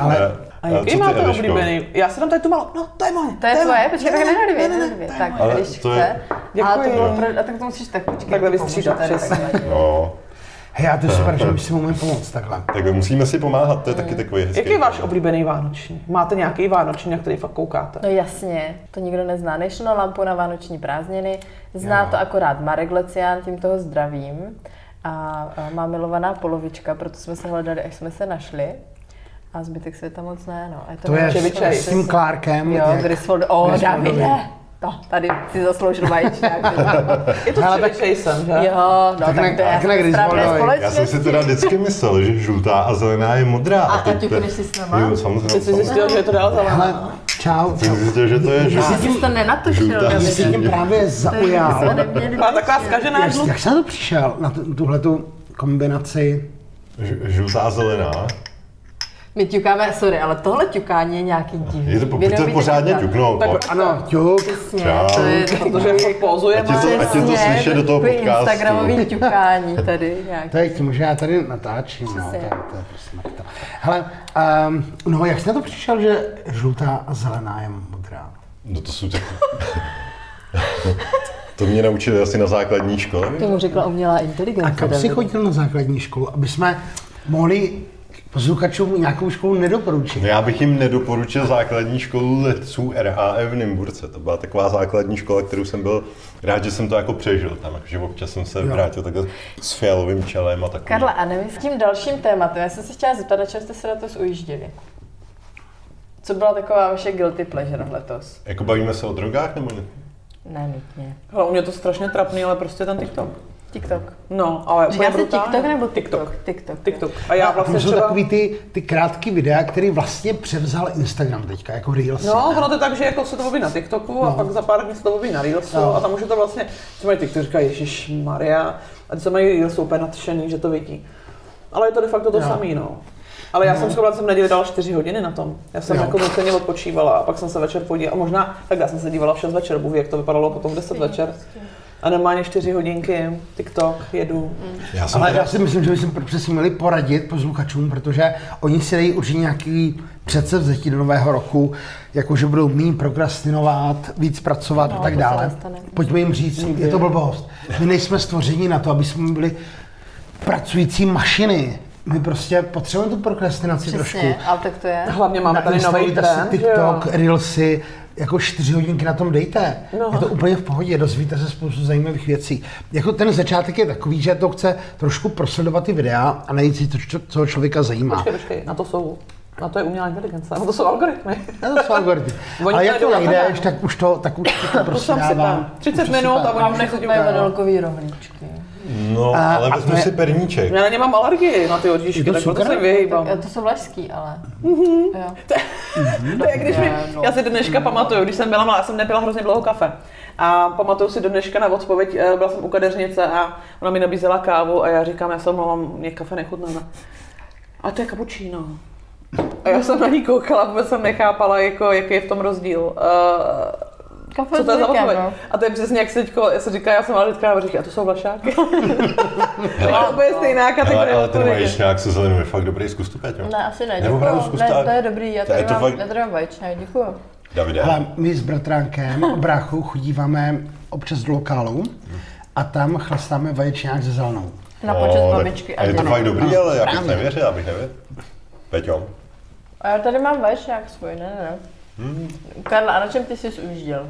Speaker 4: ale
Speaker 3: A
Speaker 1: co
Speaker 3: jaký
Speaker 1: ty,
Speaker 3: máte
Speaker 1: Eliško?
Speaker 3: oblíbený? Já jsem tam tady tu malou. No, to je moje.
Speaker 2: To je
Speaker 3: moje.
Speaker 2: tvoje? Počkej, tak ne na dvě, ne na dvě. Tak,
Speaker 1: Ale
Speaker 2: když
Speaker 1: to je-
Speaker 2: chce. A to
Speaker 3: Děkuji.
Speaker 2: bylo pro... A tak to musíš tak počkej.
Speaker 3: Takhle
Speaker 2: já ti pomůžu
Speaker 3: vystřídat,
Speaker 2: tady
Speaker 3: přesně.
Speaker 2: takhle.
Speaker 1: No,
Speaker 4: hej, já to je super, že my si umíme pomoct takhle.
Speaker 1: tak musíme si pomáhat, to je taky takový hezký.
Speaker 3: Hmm. Jaký je váš oblíbený vánoční? Máte nějaký vánoční, na který fakt koukáte?
Speaker 2: No jasně, to nikdo nezná. Nešlo na lampu na vánoční prázdniny, zná to akorát Marek Lecián, tím toho zdravím. A a má milovaná polovička, proto jsme se hledali, až jsme se našli. A zbytek světa moc ne, no. A je to,
Speaker 4: To je
Speaker 2: nejlepší
Speaker 3: Čevičej.
Speaker 4: s-
Speaker 2: věc.
Speaker 4: s tím Clarkem.
Speaker 2: Jo,
Speaker 4: jak-
Speaker 2: Griswold, o,
Speaker 4: Griswoldovi.
Speaker 2: Davide. To, tady si zasloužil vajíčák.
Speaker 3: Je to
Speaker 4: Hele, tak-
Speaker 3: Chevy jsem, že?
Speaker 2: jo, no,
Speaker 4: Tak
Speaker 2: tak,
Speaker 4: ne-
Speaker 2: to je
Speaker 4: tak ne
Speaker 2: správné
Speaker 4: Griswoldovi.
Speaker 1: no, Já jsem si teda vždycky myslel, že žlutá a zelená je modrá.
Speaker 2: A- a
Speaker 1: teď to-
Speaker 2: ťukneš si s náma?
Speaker 1: Jo, samozřejmě.
Speaker 3: Ty jsi
Speaker 1: samozřejmě.
Speaker 3: zjistil, že je to dál zelená.
Speaker 4: Hele, čau.
Speaker 1: Jsem zjistil, že to je žlutá.
Speaker 2: Jsi to nenatočil,
Speaker 1: Žlutá.
Speaker 2: Davide.
Speaker 4: Ty jsi tím právě zaujal.
Speaker 2: Jsme neměli
Speaker 3: Má taková zkažená
Speaker 4: Jak,
Speaker 3: žlutá.
Speaker 4: jak jsi na to přišel, na tu- tuhletu kombinaci?
Speaker 1: Ž- Žlutá a zelená.
Speaker 2: My ťukáme, sorry, ale tohle ťukání je nějaký divný.
Speaker 1: Je to, pojďte
Speaker 2: Vědomí
Speaker 1: pořádně
Speaker 2: ťukat.
Speaker 1: ťuknout.
Speaker 3: Tak-
Speaker 1: no.
Speaker 4: Ano, ťuk.
Speaker 2: Přesně,
Speaker 1: Čau.
Speaker 2: to je
Speaker 3: Protože fakt
Speaker 1: Ať je
Speaker 3: pozujeme.
Speaker 1: to- ať je to
Speaker 2: Přesně,
Speaker 1: slyšet do toho
Speaker 2: takový
Speaker 1: podcastu.
Speaker 2: Instagramový ťukání tady nějaký.
Speaker 4: To je tím, že já tady natáčím. No, to,
Speaker 2: Přesně.
Speaker 4: je- to je prostě mrtka. Hele, um, no jak jsi na to přišel, že žlutá a zelená je modrá?
Speaker 1: No to jsou tak... to mě naučili asi na základní škole.
Speaker 2: To mu řekla umělá
Speaker 4: A
Speaker 2: inteligence.
Speaker 4: kam jsi chodil na základní školu, aby jsme mohli posluchačům nějakou školu nedoporučit?
Speaker 1: No já bych jim nedoporučil základní školu letců RAF v Nymburce. To byla taková základní škola, kterou jsem byl rád, že jsem to jako přežil tam. Že občas jsem se vrátil takhle s fialovým čelem a takovým.
Speaker 2: Karla, a nevím, s tím dalším tématem, já jsem se chtěla zeptat, na čem jste se letos ujížděli? Co byla taková vaše guilty pleasure letos?
Speaker 1: Jako bavíme se o drogách nebo ne?
Speaker 2: Ne, nutně.
Speaker 3: Hele, u mě to strašně trapný, ale prostě ten TikTok.
Speaker 2: Tiktok.
Speaker 3: No, ale úplně
Speaker 2: Říká se
Speaker 3: brutálně.
Speaker 2: TikTok nebo TikTok? TikTok.
Speaker 3: TikTok. A já
Speaker 4: A
Speaker 3: vlastně
Speaker 4: to jsou
Speaker 3: třeba...
Speaker 4: takový ty, ty krátké videa, které vlastně převzal Instagram teďka, jako Reels.
Speaker 3: No, ono to tak, že jako se to objeví na TikToku a pak za pár dní se to objeví na Reelsu
Speaker 4: Mhm. No.
Speaker 3: a tam už je to vlastně, co mají TikTok, říkají, Ježíš Maria, a ty se mají Reelsu úplně nadšený, že to vidí. Ale je to de facto to
Speaker 4: Jo.
Speaker 3: samý, no. Ale já jsem skoro jsem v neděli dala 4 hodiny na tom. Já jsem
Speaker 4: Jo.
Speaker 3: jako nuceně odpočívala a pak jsem se večer podívala. A možná, tak já jsem se dívala v 6 večer, Bůh ví, jak to vypadalo potom v 10 večer.
Speaker 2: prostě.
Speaker 3: A normálně 4 hodinky, TikTok, jedu.
Speaker 2: Mm.
Speaker 1: Já jsem
Speaker 4: Ale
Speaker 1: teda-
Speaker 4: já si myslím, že bychom přesně měli poradit posluchačům, protože oni si dají určitě nějaký předsevzetí do nového roku, jako že budou méně prokrastinovat, víc pracovat
Speaker 2: No,
Speaker 4: a tak
Speaker 2: to se
Speaker 4: dále.
Speaker 2: nestane.
Speaker 4: Pojďme jim říct, je to blbost. My nejsme stvořeni na to, aby jsme byli pracující mašiny. My prostě potřebujeme tu prokrastinaci
Speaker 2: Přesně,
Speaker 4: trošku.
Speaker 2: ale tak to je.
Speaker 3: Hlavně máme tady nový
Speaker 4: Nainstalujte
Speaker 3: trend,
Speaker 4: si
Speaker 3: že jo.
Speaker 4: TikTok, Reelsy, jako čtyři hodinky na tom dejte.
Speaker 3: No.
Speaker 4: No. Je to úplně v pohodě, dozvíte se spoustu zajímavých věcí. Jako ten začátek je takový, že to chce trošku prosledovat ty videa a najít si to, čo- co člověka zajímá.
Speaker 3: Počkej, počkej, na to jsou, na to je umělá inteligence, na to jsou algoritmy.
Speaker 4: No, to jsou algoritmy.
Speaker 3: Oni
Speaker 4: Ale
Speaker 3: to
Speaker 4: jak to
Speaker 3: jdou na
Speaker 4: najdeš,
Speaker 3: kanály.
Speaker 4: tak už to, tak už to, to prostě
Speaker 3: sám si
Speaker 4: dává.
Speaker 3: tam. 30
Speaker 4: Už to si
Speaker 3: minut
Speaker 4: tam.
Speaker 3: a oni-
Speaker 2: Mám nechutné vanilkový rohlíčky.
Speaker 1: No,
Speaker 4: A-
Speaker 1: ale
Speaker 4: a
Speaker 1: vezmu
Speaker 4: to je-
Speaker 1: si perníček.
Speaker 2: No,
Speaker 3: Já na ně mám alergii, na ty
Speaker 4: Je
Speaker 3: odíšky,
Speaker 4: to
Speaker 3: tak proto
Speaker 4: cukr?
Speaker 3: se jim vyhýbám.
Speaker 2: Tak, to jsou vlašský, ale. Jo.
Speaker 3: To je, když mi,
Speaker 2: no.
Speaker 3: já si do dneška
Speaker 4: Mm.
Speaker 3: pamatuju, když jsem byla malá, já jsem nepila hrozně dlouho kafe. A pamatuju si do dneška na odpověď, eh, byla jsem u kadeřnice a ona mi nabízela kávu a já říkám, já jsem mluvám, mě kafe nechutná. ne? A to je kapučíno. A já jsem na ní koukala, vůbec jsem nechápala, jako, jaký je v tom rozdíl.
Speaker 2: Kafe
Speaker 3: Uh, co to je
Speaker 2: s
Speaker 3: za
Speaker 2: mlékem,
Speaker 3: odpověď?
Speaker 2: no.
Speaker 3: A to je přesně jak se teďko, já se říká, já jsem alergická na říká, a to jsou vlašáky.
Speaker 1: Hele,
Speaker 3: Ale to je stejná
Speaker 1: ale,
Speaker 3: kategorie.
Speaker 1: ale ten
Speaker 3: odpovědi.
Speaker 1: vajíčňák se zelenou je fakt dobrý, zkus to, Peťo.
Speaker 2: Ne, asi ne.
Speaker 1: Nebo opravdu
Speaker 2: Děkuju.
Speaker 1: zkus
Speaker 2: Ne,
Speaker 1: tak.
Speaker 2: to je dobrý, já
Speaker 1: To je
Speaker 2: tady
Speaker 1: to
Speaker 2: mám,
Speaker 1: fakt-
Speaker 2: já tady mám vajíčná, děkuju.
Speaker 1: Davide.
Speaker 4: Hele, my s bratránkem a bráchou chodíváme občas do lokálu a tam chlastáme vaječňák se zelenou.
Speaker 2: Na počet
Speaker 1: tak-
Speaker 2: babičky
Speaker 1: a je to
Speaker 2: děda.
Speaker 1: fakt dobrý,
Speaker 4: No,
Speaker 1: ale já bych
Speaker 4: správně.
Speaker 1: nevěřil, já bych nevěřil. Peťo,
Speaker 2: A já tady mám vajíčák svůj, ne, ne, ne.
Speaker 1: Hmm.
Speaker 2: Karla, a na čem ty jsi ujížděl?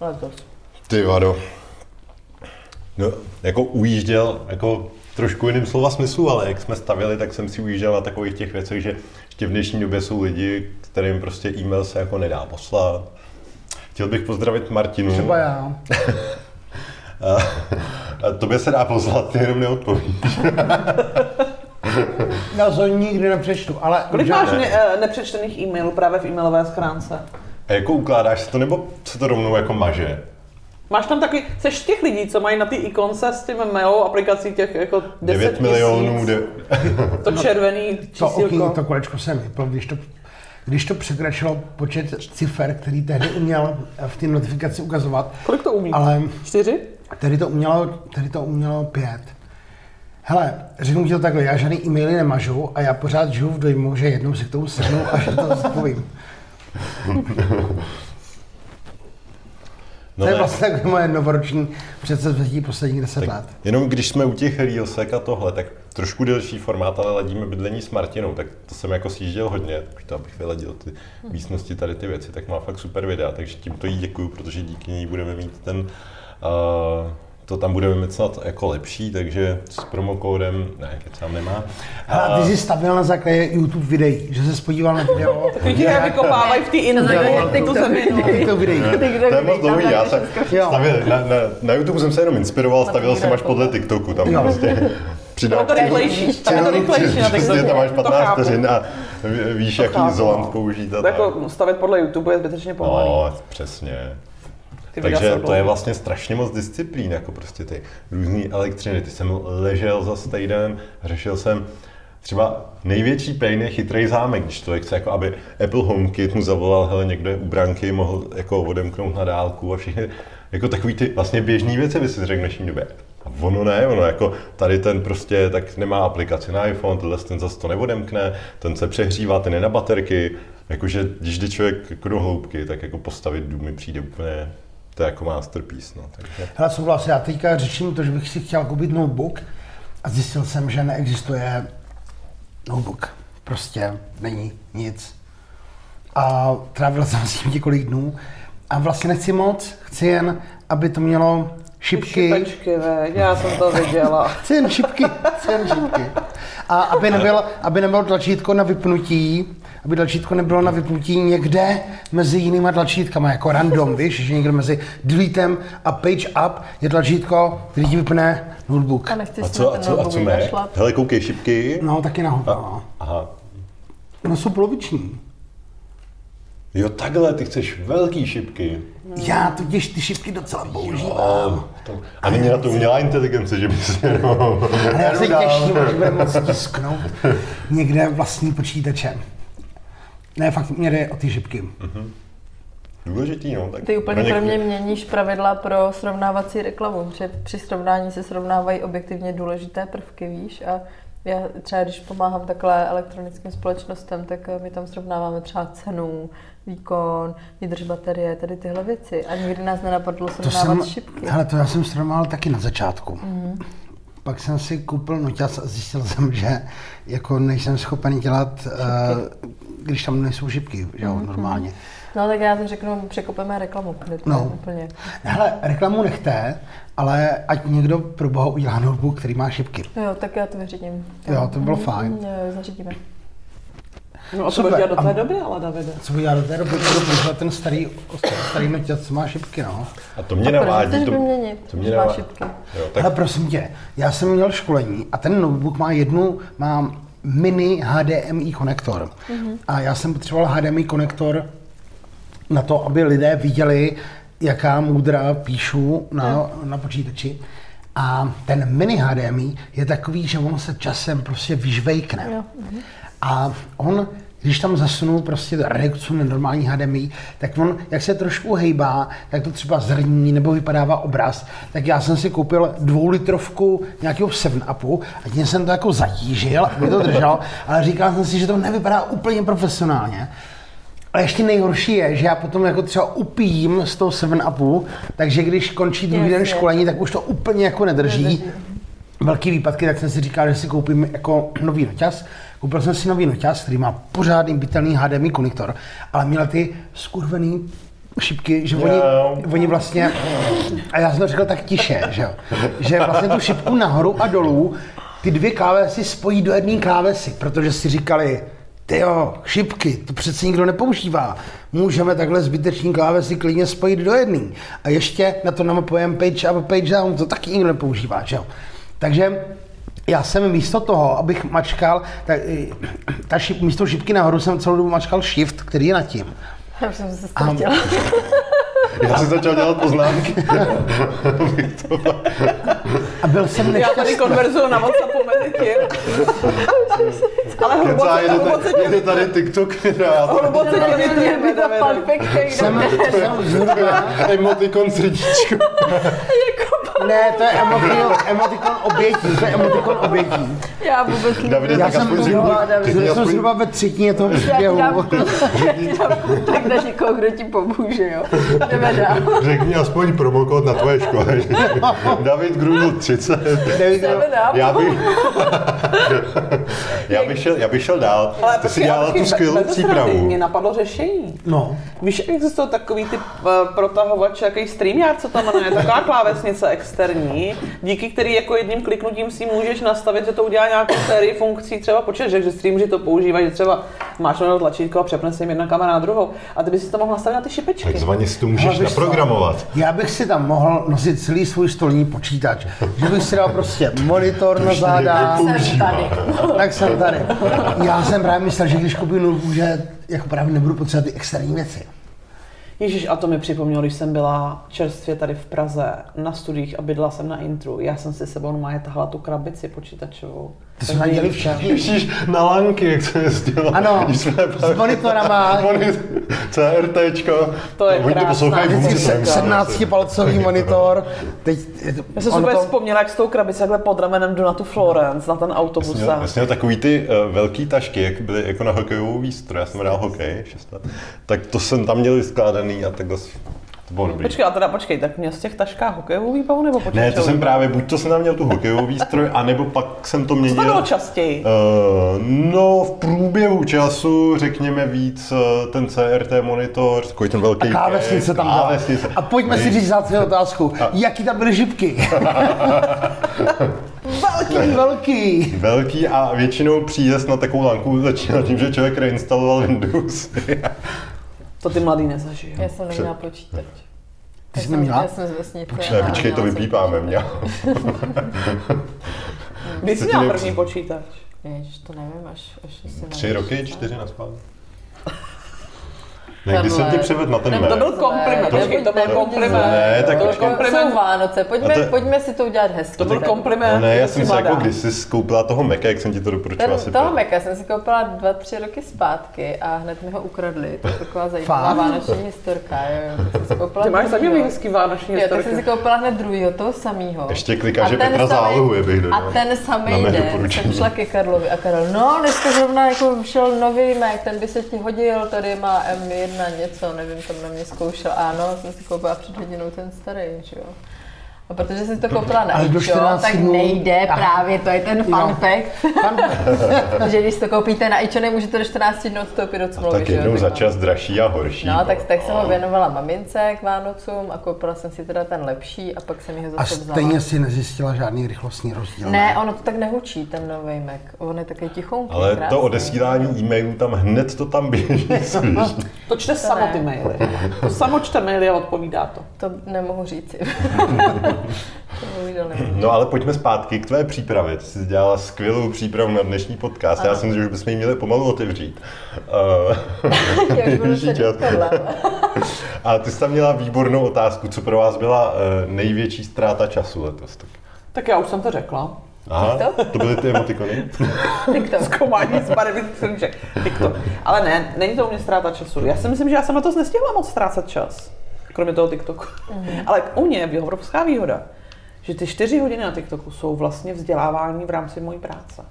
Speaker 2: Letos.
Speaker 1: Ty vado. No, jako ujížděl, jako trošku jiným slova smyslu, ale jak jsme stavili, tak jsem si ujížděl na takových těch věcech, že ještě v dnešní době jsou lidi, kterým prostě e-mail se jako nedá poslat. Chtěl bych pozdravit Martinu.
Speaker 4: Třeba já.
Speaker 1: A, a tobě se dá poslat, ty jenom neodpovíš.
Speaker 4: Já to nikdy nepřečtu, ale...
Speaker 3: Kolik
Speaker 4: že-
Speaker 3: máš ne, eh, nepřečtených e-mailů právě v e-mailové schránce?
Speaker 1: A jako ukládáš se to, nebo se to rovnou jako maže?
Speaker 3: Máš tam takový, seš těch lidí, co mají na ty ikonce s těmi mailou aplikací těch jako 10
Speaker 1: 9
Speaker 3: tisíc,
Speaker 1: milionů, de...
Speaker 3: to červený
Speaker 4: To, okýnko,
Speaker 3: čísílko.
Speaker 4: to kolečko se vyplo, když to, když to překračilo počet cifer, který tehdy uměl v té notifikaci ukazovat,
Speaker 3: Kolik to umí?
Speaker 4: ale
Speaker 3: Čtyři?
Speaker 4: tehdy to umělo, tehdy to umělo pět. Hele, řeknu ti to takhle, já žádný e-maily nemažu a já pořád žiju v dojmu, že jednou si k tomu sednu a že to zpovím.
Speaker 1: No
Speaker 4: to je
Speaker 1: ne.
Speaker 4: vlastně takové moje novoroční předsevzetí posledních deset let.
Speaker 1: Jenom když jsme u těch reelsek a tohle, tak trošku delší formát, ale ladíme bydlení s Martinou, tak to jsem jako sjížděl hodně, tak to abych vyladil ty místnosti, tady ty věci, tak má fakt super videa, takže tímto jí děkuju, protože díky ní budeme mít ten, uh, to tam budeme mít snad jako lepší, takže s promokódem, ne, kecám nemá.
Speaker 4: Hele, ty jsi stavěl na základě YouTube videí, že se podíval na video.
Speaker 3: Takový ti jak vykopávají v té
Speaker 2: základě
Speaker 3: inzeně, tu
Speaker 2: TikToku.
Speaker 3: zemi. no.
Speaker 4: To videí.
Speaker 1: to je moc dlouhý, já jsem
Speaker 4: Jo.
Speaker 1: stavěl, na, na, na YouTube jsem se jenom inspiroval, stavěl jsem až podle TikToku, tam
Speaker 4: Jo.
Speaker 1: prostě
Speaker 3: Tam
Speaker 1: přidám
Speaker 3: je to rychlejší, tam je to rychlejší na
Speaker 1: Přesně, tam máš
Speaker 3: TikToku. To
Speaker 1: 15
Speaker 3: chápu.
Speaker 1: vteřin a ví- víš,
Speaker 3: To
Speaker 1: jaký
Speaker 3: chápu.
Speaker 1: izolant použít a
Speaker 3: To
Speaker 1: tak.
Speaker 3: Jako stavět podle YouTube je zbytečně pomalý.
Speaker 1: No, přesně.
Speaker 3: Ty videa
Speaker 1: Takže
Speaker 3: jsou
Speaker 1: to je
Speaker 3: dlouhý.
Speaker 1: vlastně strašně moc disciplín, jako prostě ty různé elektřiny. Ty jsem ležel za týden, řešil jsem třeba největší pain je chytrý zámek, když člověk chce, jako aby Apple HomeKit mu zavolal, hele, někdo je u branky, mohl jako odemknout na dálku a všechny, jako takový ty vlastně běžné věci by si řekl v dnešní době. A ono ne, ono jako tady ten prostě tak nemá aplikaci na iPhone, tenhle ten zase to neodemkne, ten se přehřívá, ten je na baterky. Jakože když jde člověk jako do hloubky, tak jako postavit dům mi přijde úplně to je jako masterpiece, no. Takže
Speaker 4: Hele, souhlas, já teďka řeším to, že bych si chtěl koupit notebook a zjistil jsem, že neexistuje notebook. Prostě není nic. A trávil jsem s tím několik dnů a vlastně nechci moc, chci jen, aby to mělo šipky.
Speaker 3: Šipečky, veď, já jsem to viděla.
Speaker 4: Chci jen šipky, chci jen šipky. A aby, nebyl, aby nebylo tlačítko na vypnutí, aby tlačítko nebylo na vypnutí někde mezi jinýma tlačítkama, jako random, víš, že někde mezi deletem a page up je tlačítko, který ti vypne notebook.
Speaker 2: A nechceš
Speaker 1: a co, a co, a co ne? Hele, koukej, šipky.
Speaker 4: No, taky nahoře. No.
Speaker 1: Aha.
Speaker 4: no jsou poloviční.
Speaker 1: Jo, takhle, ty chceš velký šipky.
Speaker 4: Já totiž ty šipky docela používám.
Speaker 1: A, to, a není na to umělá inteligence, že by si jenom...
Speaker 4: Ale já se
Speaker 1: jenom dal.
Speaker 4: těším, až budeme moc tisknout někde vlastním počítačem. Ne, fakt mě jde o ty šipky.
Speaker 1: Důležitý, no. Tak
Speaker 2: Ty úplně
Speaker 1: pro
Speaker 2: pro
Speaker 1: něk-
Speaker 2: mě měníš pravidla pro srovnávací reklamu, že při srovnání se srovnávají objektivně důležité prvky, víš? A já třeba, když pomáhám takhle elektronickým společnostem, tak eh, my tam srovnáváme třeba cenu, výkon, výdrž baterie, tady tyhle věci. A nikdy nás nenapadlo
Speaker 4: To
Speaker 2: srovnávat
Speaker 4: jsem,
Speaker 2: šipky.
Speaker 4: hele, to já jsem srovnal taky na začátku. Pak jsem si koupil noťas a zjistil jsem, že jako nejsem schopen dělat, uh, když tam nejsou šipky, že jo, normálně.
Speaker 2: No tak já to řeknu, překopeme reklamu. kde to
Speaker 4: No.
Speaker 2: je Úplně.
Speaker 4: Hele, reklamu nechte, ale ať někdo pro boha udělá notebook, který má šipky.
Speaker 2: No Jo, tak já to vyřídím.
Speaker 4: Jo, to bylo
Speaker 2: Mhm,
Speaker 4: fajn.
Speaker 2: mhm, Jo, zařídíme.
Speaker 3: No a to
Speaker 4: Super.
Speaker 3: bude dělat do
Speaker 4: A-
Speaker 3: té doby, ale Davide.
Speaker 4: Co udělá do té doby, budu používat ten starý, starý noťas, co má šipky, no.
Speaker 1: A to mě
Speaker 2: A proč
Speaker 1: navádí.
Speaker 2: chceš
Speaker 1: to,
Speaker 2: vyměnit?
Speaker 1: to mě
Speaker 2: Když máš
Speaker 1: navádí.
Speaker 2: šipky.
Speaker 1: Jo,
Speaker 4: Tak. Ale
Speaker 1: tak
Speaker 4: prosím tě, já jsem měl školení a ten notebook má jednu, má mini HDMI konektor. Mm-hmm. A já jsem potřeboval HDMI konektor na to, aby lidé viděli, jaká moudra píšu na, mm. na počítači. A ten mini HDMI je takový, že on se časem prostě vyžvejkne.
Speaker 2: Jo.
Speaker 4: A on, když tam zasunu prostě redukci na normální HDMI, tak on, jak se trošku hejbá, tak to třeba zrní nebo vypadává obraz, tak já jsem si koupil dvoulitrovku nějakého 7-upu a tím jsem to jako zatížil, aby to drželo, ale říkal jsem si, že to nevypadá úplně profesionálně. Ale ještě nejhorší je, že já potom jako třeba upijím z toho 7-upu, takže když končí druhý den
Speaker 2: Jasně.
Speaker 4: školení, tak už to úplně jako nedrží velký výpadky, tak jsem si říkal, že si koupím jako nový noťaz. Koupil jsem si nový noťaz, který má pořádný bytelný HDMI konektor, ale měl ty skurvený šipky, že oni,
Speaker 1: Jo.
Speaker 4: oni vlastně, a já jsem to říkal tak tiše, že jo, že vlastně tu šipku nahoru a dolů, ty dvě klávesy spojí do jedné klávesy, protože si říkali, ty jo, šipky, to přece nikdo nepoužívá. Můžeme takhle zbytečný klávesy klidně spojit do jedný. A ještě na to namapujeme page up a page down, to taky nikdo nepoužívá, že jo. Takže já jsem místo toho, abych mačkal, tak, eh, ta šip, místo šipky nahoru jsem celou dobu mačkal shift, který je nad tím.
Speaker 2: Já už jsem se ztratila.
Speaker 1: Já si začal dělat poznámky.
Speaker 4: A byl jsem
Speaker 3: Já tady
Speaker 4: nešťastný.
Speaker 3: konverzuju na WhatsAppu mezi tím. Ale
Speaker 1: Kecá,
Speaker 3: hluboce,
Speaker 1: jede
Speaker 3: hluboce
Speaker 1: tady,
Speaker 3: tě
Speaker 1: jede tady TikTok videa.
Speaker 3: hluboce tě
Speaker 2: Měl by
Speaker 3: vytujeme,
Speaker 2: to
Speaker 3: Davide.
Speaker 2: fanfic, který
Speaker 4: Jsem,
Speaker 2: jde
Speaker 4: jsem zhruba,
Speaker 1: Emotikon srdíčko.
Speaker 4: ne, to je emotikon, emotikon obětí, to je emotikon obětí.
Speaker 2: Já vůbec nevím.
Speaker 1: Davide,
Speaker 4: Já
Speaker 1: tak
Speaker 4: jsem
Speaker 1: aspoň
Speaker 4: zhruba,
Speaker 1: řekni,
Speaker 4: já jsem
Speaker 1: aspoň-
Speaker 4: zhruba ve třetině toho
Speaker 2: Já ti
Speaker 4: příběhu.
Speaker 2: dám, já ti dám tak na někoho, kdo ti pomůže, jo. Jdeme dál.
Speaker 1: Řekni aspoň promokod na tvoje škole. David Grudl 30.
Speaker 4: David,
Speaker 2: Jdeme dál.
Speaker 1: Já bych, já bych, šel, já bych šel dál.
Speaker 3: Ale prostě
Speaker 1: Ty jsi
Speaker 3: počkej,
Speaker 1: dělala
Speaker 3: počkej,
Speaker 1: tu
Speaker 3: be-
Speaker 1: skvělou
Speaker 3: bez srandy,
Speaker 1: přípravu.
Speaker 3: Mě napadlo řešení.
Speaker 4: No,
Speaker 3: Víš, jak existují takový ty eh, protahovače, jaký StreamYard, co tam jmenuje, taková klávesnice externí, díky který jako jedním kliknutím si můžeš nastavit, že to udělá nějakou sérii funkcí, třeba počet, že streamři to používají, že třeba máš na tlačítko a přepne se jim jedna kamera na druhou. A ty bys si to mohl nastavit na ty šipečky.
Speaker 1: Takzvaně si to můžeš
Speaker 4: Hele, víš co?
Speaker 1: naprogramovat.
Speaker 4: já bych si tam mohl nosit celý svůj stolní počítač. Že bych si dal prostě monitor na záda,
Speaker 2: Jsem tady.
Speaker 4: tak jsem tady. Já jsem právě myslel, že když koupím notebook, že jako právě nebudu potřebovat ty externí věci.
Speaker 3: Ježíš, a to mi připomnělo, když jsem byla čerstvě tady v Praze na studiích a bydla jsem na intru. Já jsem si s sebou normálně tahala tu krabici počítačovou.
Speaker 4: To jsme tam dělali všichni.
Speaker 1: Píšíš na lanky, jak se jezdilo.
Speaker 4: Ano,
Speaker 1: Když jsme
Speaker 4: s monitorama.
Speaker 1: Monit- CRTčko.
Speaker 3: To je
Speaker 1: Oni to
Speaker 3: krásná
Speaker 1: poslouchají v
Speaker 3: věc.
Speaker 1: muzice,
Speaker 4: Vždycky
Speaker 1: myslím.
Speaker 4: 17 palcový monitor. Teď,
Speaker 3: Já jsem
Speaker 4: ono
Speaker 3: super
Speaker 4: to-
Speaker 3: vzpomněla, jak s tou krabicí takhle pod ramenem jdu na tu Florence, na ten autobus.
Speaker 1: Měl, já jsem měl takový ty uh, velký tašky, jak byly jako na hokejovou výstroj, já jsem hrál hokej, šest let, tak to jsem tam měl vyskládaný a takhle, s- to bylo dobrý.
Speaker 3: Počkej, a teda počkej, tak měl z těch taškách hokejovou výbavu nebo počítačovou?
Speaker 1: Ne, to jsem
Speaker 3: výbavu?
Speaker 1: právě, buď to jsem tam měl tu hokejovou výstroj, anebo pak jsem to
Speaker 3: Co to bylo
Speaker 1: měnil.
Speaker 3: častěji?
Speaker 1: Eh, no, v průběhu času, řekněme víc, eh, ten CRT monitor, takový ten velký...
Speaker 4: Klávesnice tam byla.
Speaker 1: klávesnice.
Speaker 4: A pojďme si říct zásadní otázku. Jaký tam byly žibky? velký, velký.
Speaker 1: Velký a většinou příjezd na takovou lanku začínal tím, že člověk reinstaloval Windows.
Speaker 3: To ty mladý nezažijou.
Speaker 2: Já jsem neměla počítač.
Speaker 4: Ty
Speaker 2: Já
Speaker 4: jsi
Speaker 2: jsem-
Speaker 4: neměla?
Speaker 2: Já jsem z vesnice.
Speaker 1: ne,
Speaker 2: a
Speaker 1: počkej, to
Speaker 2: měla jsem-
Speaker 1: vypípáme, mě.
Speaker 3: Kdy jsi
Speaker 1: Co ti
Speaker 3: měl
Speaker 1: nejvíc-
Speaker 3: první počítač?
Speaker 2: Ježiš, to nevím, až, až asi
Speaker 1: Tři
Speaker 2: nevím,
Speaker 1: roky,
Speaker 2: že-
Speaker 1: čtyři na spát. Ne, když jsem tě
Speaker 2: Tenhle.
Speaker 1: převedl na ten
Speaker 3: Ne, to byl
Speaker 1: Mac.
Speaker 3: kompliment,
Speaker 1: To-
Speaker 3: počkej, to byl
Speaker 2: to-
Speaker 3: kompliment.
Speaker 1: Ne, tak
Speaker 3: to byl
Speaker 1: počkej.
Speaker 2: Jsou
Speaker 3: kompliment.
Speaker 2: Vánoce, pojďme,
Speaker 1: A to je-
Speaker 2: pojďme si to udělat hezky.
Speaker 3: To byl
Speaker 2: Tak.
Speaker 3: kompliment.
Speaker 1: Ne, já
Speaker 3: že
Speaker 1: jsem
Speaker 3: jsi
Speaker 1: se jako
Speaker 3: mladá.
Speaker 1: když jsi koupila toho Maca, jak jsem ti to doporučila asi
Speaker 2: Ten, toho
Speaker 1: pět.
Speaker 2: Meka jsem si koupila dva, tři roky zpátky a hned mi ho ukradli. To je taková zajímavá
Speaker 4: Fakt?
Speaker 2: vánoční historka. Jo, jo. Tak jsem si koupila
Speaker 3: Ty máš
Speaker 2: druhýho.
Speaker 3: zajímavý hezký vánoční
Speaker 2: Jo, tak jsem si
Speaker 3: historiky.
Speaker 2: koupila hned druhýho, toho samýho.
Speaker 1: Ještě kliká,
Speaker 2: A
Speaker 1: že
Speaker 2: ten
Speaker 1: Petra
Speaker 2: samej-
Speaker 1: zálohuje, bych dodal.
Speaker 2: A ten
Speaker 1: Na
Speaker 2: samý
Speaker 1: mé
Speaker 2: den
Speaker 1: doporučení.
Speaker 2: jsem šla ke Karlovi a Karel, no dneska zrovna jako vyšel nový Mac, ten by se ti hodil, tady má M1 něco, nevím, tam na mě zkoušel. Ano, jsem si koupila před hodinou ten starý, že jo. A protože jsi to koupila na
Speaker 4: Ale do
Speaker 2: itch.io,
Speaker 4: 14
Speaker 2: tak
Speaker 4: dnů- Ah.
Speaker 2: nejde
Speaker 4: Aha.
Speaker 2: právě, to je ten fun
Speaker 4: No.
Speaker 2: fact. že když to koupíte na ičo, nemůžete do 14 dnů odstoupit od smlouvy.
Speaker 1: Tak
Speaker 2: že jo,
Speaker 1: jednou za
Speaker 2: no.
Speaker 1: čas dražší a horší.
Speaker 2: No, tak, tak jsem ho věnovala mamince k Vánocům a koupila jsem si teda ten lepší a pak jsem ho
Speaker 4: A
Speaker 2: zase vzala.
Speaker 4: stejně si nezjistila žádný rychlostní rozdíl.
Speaker 2: Ne, ono to tak nehučí, ten nový Mac. On je taky tichounký,
Speaker 1: Ale
Speaker 2: krásný.
Speaker 1: to odesílání e-mailů tam hned to tam běží. svíš.
Speaker 3: To čte samo
Speaker 2: ne.
Speaker 3: ty maily. To samo čte maily a odpovídá to.
Speaker 2: To nemohu říct. to bohužel nemohu.
Speaker 1: No ale pojďme zpátky k tvé přípravě. Ty jsi dělala skvělou přípravu na dnešní podcast. Já si myslím, že už bychom ji měli pomalu otevřít.
Speaker 2: Já už budu
Speaker 1: Nejvyšší
Speaker 2: sedět
Speaker 1: čas.
Speaker 2: tohle.
Speaker 1: A ty jsi tam měla výbornou otázku, co pro vás byla eh, největší ztráta času letos. Tak.
Speaker 3: Tak já už jsem to řekla.
Speaker 1: Aha,
Speaker 2: Tak to?
Speaker 1: to byly ty emotikony.
Speaker 2: TikTok.
Speaker 3: Zkoumání z barevných srnček. TikTok. Ale ne, není to u mě ztráta času. Já si myslím, že já jsem na to nestihla moc ztrácet čas. Kromě toho TikToku.
Speaker 2: Mhm.
Speaker 3: Ale u mě je obrovská výhoda, že ty čtyři hodiny na TikToku jsou vlastně vzdělávání v rámci mojí práce.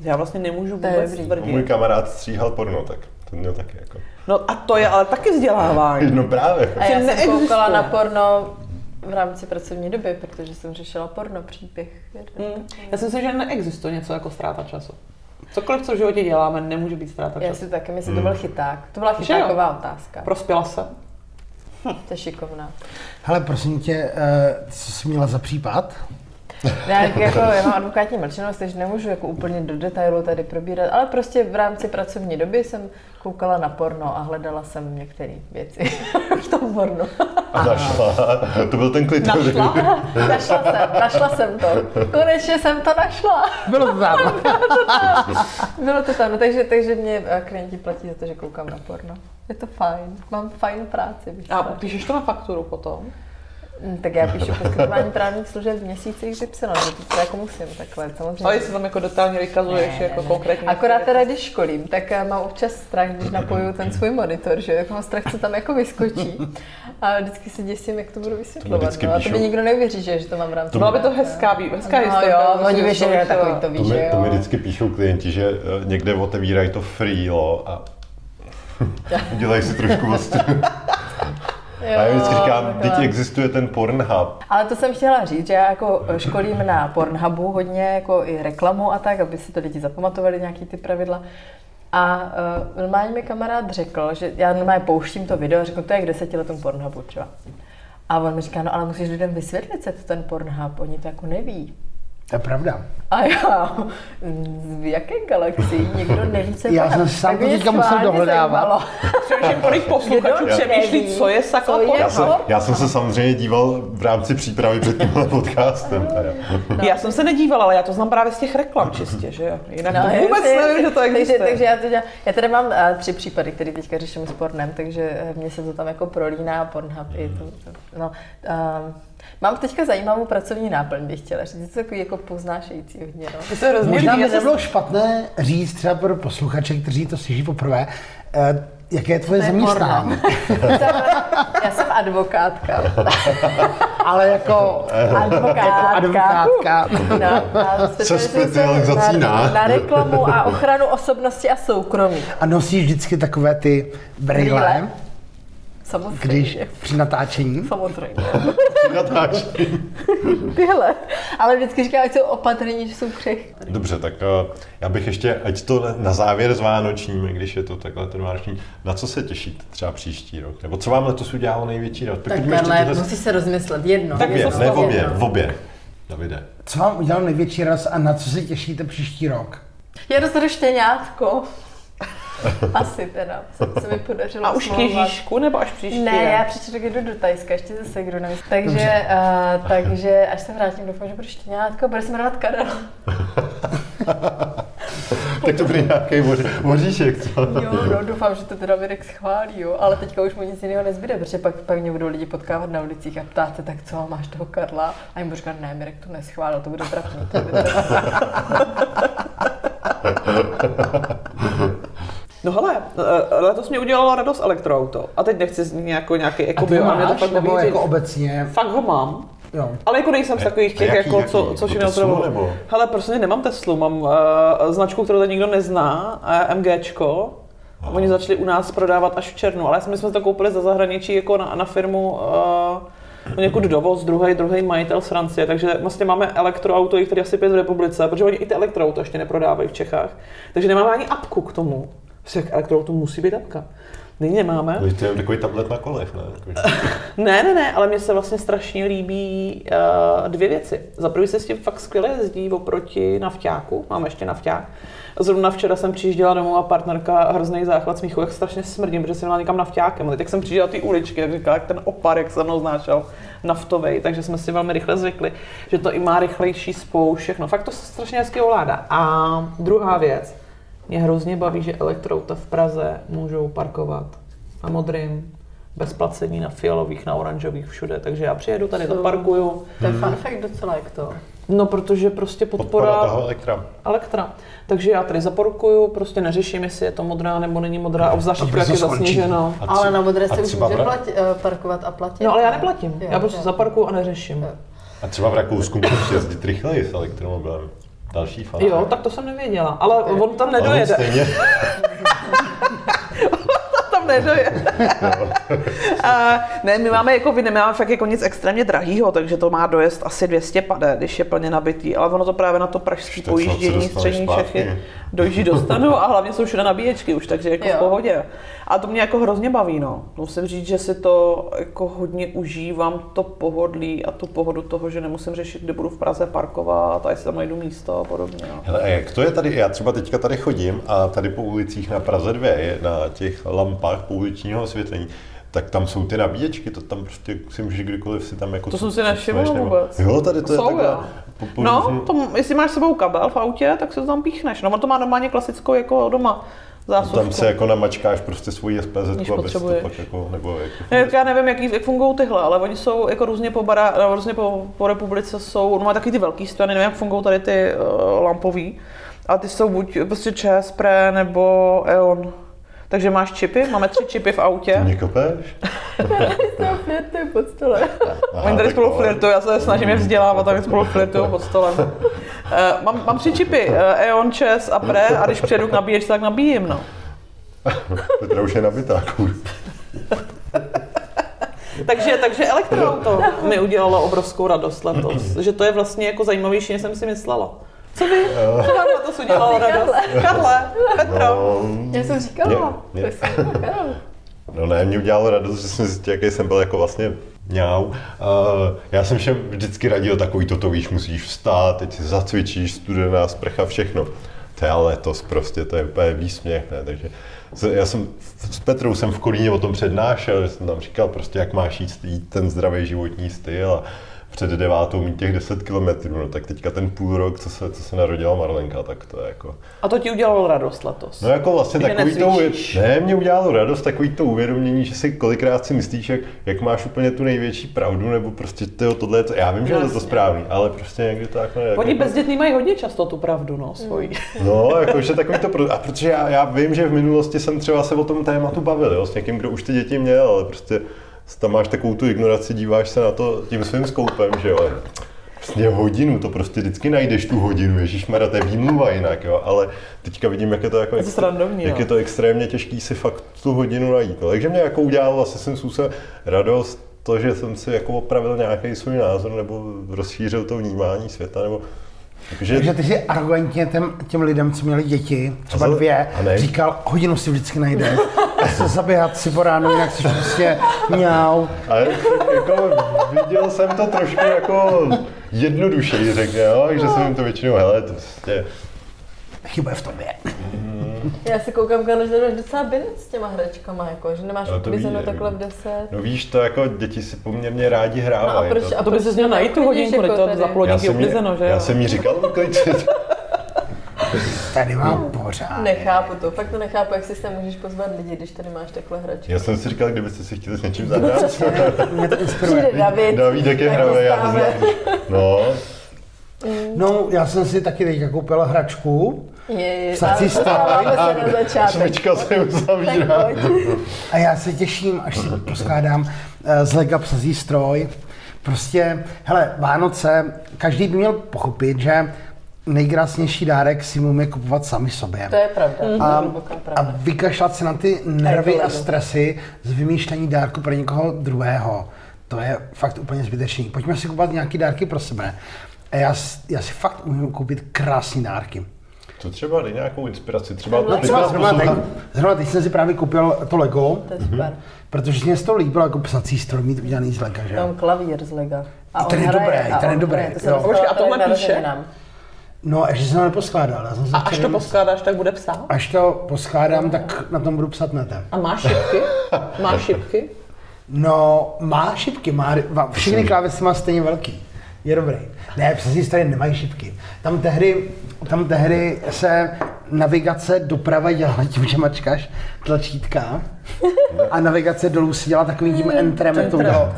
Speaker 3: Já vlastně nemůžu
Speaker 2: To je
Speaker 3: vůbec
Speaker 2: dobrý.
Speaker 1: No, Můj
Speaker 3: tvrdit.
Speaker 1: kamarád stříhal porno, tak to měl taky jako.
Speaker 3: No a to je ale taky vzdělávání.
Speaker 1: No právě.
Speaker 2: A já jsem
Speaker 3: neexistuje.
Speaker 2: koukala na porno v rámci pracovní doby, protože jsem řešila porno příběh.
Speaker 3: Mm. Já si myslím, že neexistuje něco jako ztráta času. Cokoliv, co v životě děláme, nemůže být ztráta
Speaker 2: Já
Speaker 3: času.
Speaker 2: si taky myslím, to byl
Speaker 1: Mm.
Speaker 2: chyták. To byla
Speaker 3: Že jo?
Speaker 2: chytáková otázka.
Speaker 3: Prospěla se.
Speaker 2: To je šikovná.
Speaker 4: Hele, prosím tě, eh, co jsi měla za případ?
Speaker 2: Ne, tak jako já mám advokátní mlčenost, takže nemůžu jako úplně do detailu tady probírat, ale prostě v rámci pracovní doby jsem koukala na porno a hledala jsem některé věci v tom pornu.
Speaker 1: A našla. To byl ten klitoris.
Speaker 3: Našla?
Speaker 2: našla jsem, našla jsem to. Konečně jsem to našla.
Speaker 4: Bylo to tam.
Speaker 2: Bylo to tam, no, takže, takže mě eh, klienti platí za to, že koukám na porno. Je to fajn. Mám fajn práci. Bych
Speaker 3: A
Speaker 2: řekla.
Speaker 3: píšeš to na fakturu potom?
Speaker 2: Hm, tak já píšu poskytování právních služeb v měsíci XY, že to jako musím takhle, samozřejmě.
Speaker 3: Ale jestli tam jako detailně vykazuješ
Speaker 2: Ne,
Speaker 3: jako
Speaker 2: ne, ne.
Speaker 3: konkrétně.
Speaker 2: Akorát teda, když školím, tak eh, mám občas strach, když napoju ten svůj monitor, že jo, jak mám strach, co tam jako vyskočí. A vždycky se děsím, jak to budu vysvětlovat.
Speaker 1: vždycky
Speaker 2: no, a to
Speaker 1: píšou.
Speaker 2: by nikdo nevyříže, že to mám v rámci.
Speaker 3: Byla by to hezká, vý- hezká
Speaker 2: No
Speaker 3: historie.
Speaker 2: jo, oni věří, že takový to
Speaker 1: To
Speaker 2: ví, že
Speaker 1: mi, to mi
Speaker 2: jo.
Speaker 1: vždycky píšou klienti, že eh, někde otevírají to freelo a udělají si trošku ostro. A já vždycky
Speaker 2: Jo,
Speaker 1: říkám, teď
Speaker 2: takhle.
Speaker 1: existuje ten Pornhub.
Speaker 2: Ale to jsem chtěla říct, že já jako školím na Pornhubu hodně jako i reklamu a tak, aby si to lidi zapamatovali nějaký ty pravidla. A uh, normálně mi kamarád řekl, že já normálně pouštím to video a řeknu, to je k desetiletům Pornhubu třeba. A on mi říká, no ale musíš lidem vysvětlit, co je to ten Pornhub, oni to jako neví.
Speaker 4: To je pravda.
Speaker 2: A já, z jaké galaxii nikdo neví, co je
Speaker 4: Já
Speaker 2: Pornhub?"
Speaker 4: jsem sám
Speaker 2: Tak
Speaker 4: to
Speaker 2: mě
Speaker 4: teďka musel
Speaker 2: schválně
Speaker 4: dohledávat.
Speaker 2: zajímalo.
Speaker 3: Přemýšlím, kolik posluchačů
Speaker 2: Kdo
Speaker 3: přemýšlí,
Speaker 2: neví,
Speaker 3: co je sakla
Speaker 2: co je-
Speaker 1: Já jsem,
Speaker 2: Pornhub?
Speaker 1: já jsem se samozřejmě díval v rámci přípravy před tímhle podcastem. Teda.
Speaker 2: No.
Speaker 3: Já jsem se nedívala, ale já to znám právě z těch reklam čistě, že jo? Jinak
Speaker 2: No,
Speaker 3: to vůbec
Speaker 2: jasně,
Speaker 3: nevím, že to
Speaker 2: takže-
Speaker 3: existuje.
Speaker 2: Takže, já, to dělám, já tady mám eh, tři případy, které teďka řeším s Pornem, takže eh, mně se to tam jako prolíná, Pornhub i to, to no, ehm, Mám teďka zajímavou pracovní náplň, bych chtěla říct. Je to takový jako poznášející hodně, no.
Speaker 3: Mně se hrozně
Speaker 4: Možná
Speaker 3: líbí,
Speaker 4: by
Speaker 3: já jsem-
Speaker 4: nebylo špatné říct třeba pro posluchače, kteří to slyší poprvé, eh, jaké je tvoje
Speaker 2: To je
Speaker 4: zaměstnání.
Speaker 2: Já jsem advokátka.
Speaker 4: Ale jako
Speaker 2: Advokátka.
Speaker 3: Jako
Speaker 4: advokátka.
Speaker 2: No, a specializuji se
Speaker 1: specializací
Speaker 2: na,
Speaker 1: na?
Speaker 2: na reklamu a ochranu osobnosti a soukromí.
Speaker 4: A nosíš vždycky takové ty brýle,
Speaker 2: Brýle? Samozřejmě.
Speaker 4: když při natáčení.
Speaker 2: Samozřejmě.
Speaker 1: Natáčí.
Speaker 2: Tyhle. Ale vždycky říkám, ať jsou opatrní, že jsou křehký.
Speaker 1: Dobře, tak eh, já bych ještě, ať to na- na závěr s Vánočním, i když je to takhle ten Vánoční, na co se těšíte třeba příští rok? Nebo co vám letos udělalo největší rok? Tak,
Speaker 2: se rozmyslet. Jedno.
Speaker 3: Tak
Speaker 1: obě,
Speaker 3: něco z
Speaker 1: ne
Speaker 3: toho.
Speaker 2: no.
Speaker 1: obě, obě. Davide.
Speaker 4: Co vám udělal největší radost a na co se těšíte příští rok?
Speaker 2: Já dostanu štěňátko. Asi teda, co se mi podařilo
Speaker 3: A už k
Speaker 2: oslovovat.
Speaker 3: Ježíšku, nebo až příští?
Speaker 2: Ne,
Speaker 3: rok?
Speaker 2: já příští rok jdu do Tajska, ještě se segru nevím. Takže, uh, takže až se vrátím, doufám, že budu štěňátko, bude se jmenovat Karel.
Speaker 1: Tak to bude nějaký oříšek, co?
Speaker 2: Jo, no, doufám, že to teda Mirek schválí, jo, ale teďka už mu nic jiného nezbyde, protože pak, pak mě budou lidi potkávat na ulicích a ptát se, tak co, máš toho Karla? A jim budu říkat, ne, Mirek to neschválil, to bude trapný. To bude trapný.
Speaker 3: No hele, eh, letos mě udělalo radost elektroauto. A teď nechci znít jako nějaký jako bio, a mě to fakt
Speaker 4: nebo
Speaker 3: baví
Speaker 4: jako
Speaker 3: jako...
Speaker 4: obecně?
Speaker 3: Fakt ho mám.
Speaker 4: Jo.
Speaker 3: Ale jako nejsem z
Speaker 1: A-
Speaker 3: takových
Speaker 1: a
Speaker 3: těch,
Speaker 1: jaký,
Speaker 3: jako,
Speaker 1: jaký?
Speaker 3: co, co
Speaker 1: Jako
Speaker 3: všechno
Speaker 1: Teslu,
Speaker 3: to
Speaker 1: nebo?
Speaker 3: Hele, prostě nemám Teslu, mám uh, značku, kterou tady nikdo nezná, uh, MGčko.
Speaker 1: Aha.
Speaker 3: Oni začali u nás prodávat až v červnu, ale my jsme to koupili za zahraničí jako na, na firmu uh, někud dovoz, druhý, druhý majitel z Francie, takže vlastně máme elektroauto, jich tady asi pět v republice, protože oni i ty elektroauto ještě neprodávají v Čechách. Takže nemáme ani apku k tomu. Prostě k elektroautu musí být apka. Nyní nemáme.
Speaker 1: Takže to je takový tablet na kolech, ne? Jakože-
Speaker 3: Ne, ne, ne, ale mně se vlastně strašně líbí uh, dvě věci. Za prvé se s tím fakt skvěle jezdí oproti navťáku, mám ještě navťák. Zrovna včera jsem přijížděla domů a partnerka hrozný záchvat smíchu, jak strašně smrdím, protože jsem měla někam navťákem. A teď jak jsem přijížděla ty uličky, jak říkala, jak ten opar, jak se mnou znášel naftovej, takže jsme si velmi rychle zvykli, že to i má rychlejší spou, všechno. Fakt to se strašně hezky ovládá. A druhá věc, mě hrozně baví, že elektrouta v Praze můžou parkovat na modrým, bez placení na fialových, na oranžových, všude. Takže já přijedu tady, zaparkuju.
Speaker 2: To
Speaker 1: Hmm.
Speaker 2: je fun fact docela, jak to.
Speaker 3: No, protože prostě podpora,
Speaker 1: Podpora toho elektra.
Speaker 3: elektra. Takže já tady zaparkuju, prostě neřeším, jestli je to modrá nebo není modrá, a obzvlášť jak
Speaker 4: brzo
Speaker 3: je
Speaker 4: skončí.
Speaker 3: zasněženo.
Speaker 1: A
Speaker 2: Ale
Speaker 1: tři-
Speaker 2: na modré
Speaker 1: a
Speaker 2: se už
Speaker 1: třeba
Speaker 2: může
Speaker 1: vra-
Speaker 2: plati, eh, parkovat a platit.
Speaker 3: No, ale já neplatím.
Speaker 2: Jo,
Speaker 3: Já prostě
Speaker 2: jo.
Speaker 3: zaparkuju a neřeším.
Speaker 1: A třeba v Rakousku můžeš jezdit rychleji s elektromobilem. Další fan.
Speaker 3: Jo, tak to jsem nevěděla, ale on tam
Speaker 1: Ale on
Speaker 3: nedojede.
Speaker 1: Stejně,
Speaker 3: tam nedojede. a, ne, my máme jako, vy nemáme fakt jako nic extrémně drahýho, takže to má dojezd asi 200 pade, když je plně nabitý, ale ono to právě na to pražský
Speaker 1: Už to co, co
Speaker 3: pojíždění
Speaker 1: dostaneš
Speaker 3: střední
Speaker 1: zpátky?
Speaker 3: Čechy dojíždí dostanu a hlavně jsou všude nabíječky už, takže jako
Speaker 2: Jo.
Speaker 3: v pohodě. A to mě jako hrozně baví, no. Musím říct, že si to jako hodně užívám, to pohodlí a tu pohodu toho, že nemusím řešit, kde budu v Praze parkovat a jestli tam najdu místo a podobně. No.
Speaker 1: Hele, a jak to je tady? Já třeba teďka tady chodím a tady po ulicích na Praze 2, je na těch lampách pouličního osvětlení, tak tam jsou ty nabíječky, to tam prostě si můžeš kdykoliv si tam jako...
Speaker 3: To
Speaker 1: co-
Speaker 3: jsem si nevšimla
Speaker 1: chceš,
Speaker 3: vůbec.
Speaker 1: Jo, tady to
Speaker 3: Jsou,
Speaker 1: je
Speaker 3: jo.
Speaker 1: takhle. Po, po,
Speaker 3: No, to, jestli máš s sebou kabel v autě, tak se to tam píchneš. No, on to má normálně klasickou jako doma zásuvku.
Speaker 1: Tam se jako namačkáš prostě svoji
Speaker 3: Když
Speaker 1: SPZ, aby si to
Speaker 3: potřebuješ.
Speaker 1: pak jako, nebo jako...
Speaker 3: Ne, tak Já nevím, jak, jak fungují tyhle, ale oni jsou jako různě po, bara, nebo různě po, po republice jsou, no má taky ty velký strany, nevím, jak fungují tady ty uh, lampový, a ty jsou buď prostě ČES, PRE nebo EON. Takže máš čipy, máme tři čipy v autě.
Speaker 1: Mě kopeš?
Speaker 2: To flirtuju pod stolem.
Speaker 1: Aha,
Speaker 3: Oni tady
Speaker 1: tak
Speaker 3: spolu
Speaker 1: jo.
Speaker 3: flirtují, já se snažím je vzdělávat, tak spolu flirtují pod stolem. Uh, mám, mám tři čipy, uh, EON, ČES a PRE, a když přijedu k nabíječce, tak nabíjím, no.
Speaker 1: Petra už je nabitá, kurva.
Speaker 3: Takže, takže elektroauto mi udělalo obrovskou radost letos, že to je vlastně jako zajímavější, než jsem si myslela. Co by? Co vám letos udělalo radost? Karle, Petro.
Speaker 1: No,
Speaker 2: Já jsem říkala,
Speaker 1: Mě-
Speaker 2: to jako
Speaker 1: mě-
Speaker 2: jsem říkala, Karol.
Speaker 1: No ne, mě udělalo radost, že jsem zjistil, jaký jsem byl jako vlastně mňau. Uh, já jsem všem vždycky radil takový toto, víš, musíš vstát, teď si zacvičíš, studená sprcha, všechno. To je ale letos prostě, to je úplně výsměch, ne? Takže z- já jsem s Petrou jsem v Kolíně o tom přednášel, že jsem tam říkal prostě, jak máš jíst, jít ten zdravý životní styl a před devátou mít těch 10 kilometrů, no tak teďka ten půl rok, co se, co se narodila Marlenka, tak to je jako...
Speaker 3: A to ti udělalo radost letos.
Speaker 1: No jako vlastně
Speaker 3: Že
Speaker 1: takový to,
Speaker 3: necvičíš.
Speaker 1: uvě- ne, mě udělalo radost takový to uvědomění, že si kolikrát si myslíš, jak, jak máš úplně tu největší pravdu, nebo prostě tyjo, tohle je to, já vím, že je to
Speaker 3: No Jasně.
Speaker 1: správný, ale prostě někdy to takhle je.
Speaker 3: Oni
Speaker 1: jako-
Speaker 3: bezdětní mají hodně často tu pravdu, no, svoji.
Speaker 1: No, jakože takový to, pro- a protože já, já, vím, že v minulosti jsem třeba se o tom tématu bavil, jo, s někým, kdo už ty děti měl, ale prostě tam máš takovou tu ignoraci, díváš se na to tím svým skoupem, že jo. Vlastně hodinu, to prostě vždycky najdeš tu hodinu, Ježíš to je výmluva jinak, jo, ale teďka vidím, jak je to jako,
Speaker 3: Je to srandovní,
Speaker 1: jak
Speaker 3: no.
Speaker 1: je to extrémně těžký si fakt tu hodinu najít. No, takže mě jako udělalo asi jsem způsobem radost, to, že jsem si jako opravil nějaký svůj názor nebo rozšířil to vnímání světa, nebo že-
Speaker 4: Takže ty si arrogantně těm, těm lidem, co měli děti, třeba
Speaker 1: A za-
Speaker 4: dvě,
Speaker 1: a ne.
Speaker 4: říkal, hodinu si vždycky najde. A se zaběhat si po ránu, jinak jsi prostě mňau.
Speaker 1: A jako viděl jsem to trošku jako jednodušeji, řekl, jo, že jsem jim to většinou, hele, to prostě,
Speaker 4: Chyba je v tobě.
Speaker 2: Já si koukám, Karlo, že máš docela binec s těma hračkama, jako, že nemáš
Speaker 1: No, to
Speaker 2: uklizeno
Speaker 1: ví, nevím.
Speaker 2: takhle v 10.
Speaker 1: no víš, to jako děti si poměrně rádi
Speaker 2: No a
Speaker 1: hrávají.
Speaker 2: proč?
Speaker 1: to-
Speaker 3: A to by
Speaker 2: proč
Speaker 3: se měl najít tu
Speaker 2: neuklidíš
Speaker 3: hodinku, ne
Speaker 2: jako
Speaker 3: to
Speaker 2: tady?
Speaker 3: za
Speaker 1: já
Speaker 3: plodníky
Speaker 1: jsem, jí,
Speaker 3: uklizeno, že
Speaker 1: já
Speaker 3: jo?
Speaker 1: jsem jí říkal, "No, uklidte to.
Speaker 4: Tady mám pořád.
Speaker 2: Nechápu to, fakt to nechápu, jak si sem můžeš pozvat lidi, když tady máš takhle hračky.
Speaker 1: Já jsem si říkal, kdybyste si chtěli s něčím zahrát.
Speaker 4: Mě to inspiruje.
Speaker 2: Přijde David,
Speaker 1: Davídek je
Speaker 2: tak
Speaker 1: hravý, já to
Speaker 2: dostáváme.
Speaker 1: znám. No,
Speaker 4: No, já jsem si taky teďka koupil hračku
Speaker 2: Je, je,
Speaker 4: Psací
Speaker 2: ale
Speaker 4: stav.
Speaker 2: dostáváme se na začátek.
Speaker 1: smyčka se
Speaker 2: Tak
Speaker 1: uzavírá.
Speaker 2: pojď.
Speaker 4: a já se těším, až si ji poskládám eh, z lega psazí stroj. Prostě, hele, Vánoce, každý by měl pochopit, že nejkrásnější dárek si můžeme kupovat sami sobě.
Speaker 2: To je pravda, to je
Speaker 4: A,
Speaker 2: hluboká
Speaker 4: a
Speaker 2: pravda.
Speaker 4: vykašlat se na ty nervy
Speaker 2: ledu.
Speaker 4: a stresy z vymýšlení dárku pro někoho druhého. To je fakt úplně zbytečný. Pojďme si kupovat nějaké dárky pro sebe. A já, s- já si fakt umím koupit krásné dárky.
Speaker 1: To třeba dej nějakou inspiraci, třeba
Speaker 2: No,
Speaker 1: teď
Speaker 4: Třeba
Speaker 1: nás
Speaker 4: zrovna teď,
Speaker 1: poslouchá-
Speaker 4: zrovna teď jsem si právě koupil to Lego,
Speaker 2: To je
Speaker 1: Mhm.
Speaker 2: super.
Speaker 4: protože mě se to líbilo jako psací stroj mít udělaný z Lego, že?
Speaker 2: Tam klavír z Lega.
Speaker 4: A ten je dobrý, ten je dobrý. Jo.
Speaker 3: Počkej, a tohle píše?
Speaker 4: No, ještě jsem to neposkládal. Já jsem se
Speaker 3: A až to
Speaker 4: včera-
Speaker 3: poskládáš, tak bude psát?
Speaker 4: až to poskládám, tak na tom budu psat netem.
Speaker 3: A máš šipky? Máš šipky?
Speaker 4: No, má šipky, má, má všechny klávesy má stejně velký. Je dobrý. Ne, přesně tady nemají šipky. Tam tehdy, tam tehdy se navigace doprava dělala tím, že mačkáš tlačítka a navigace dolů se dělá takovým
Speaker 3: Hmm,
Speaker 4: tím entrem, jak to bylo.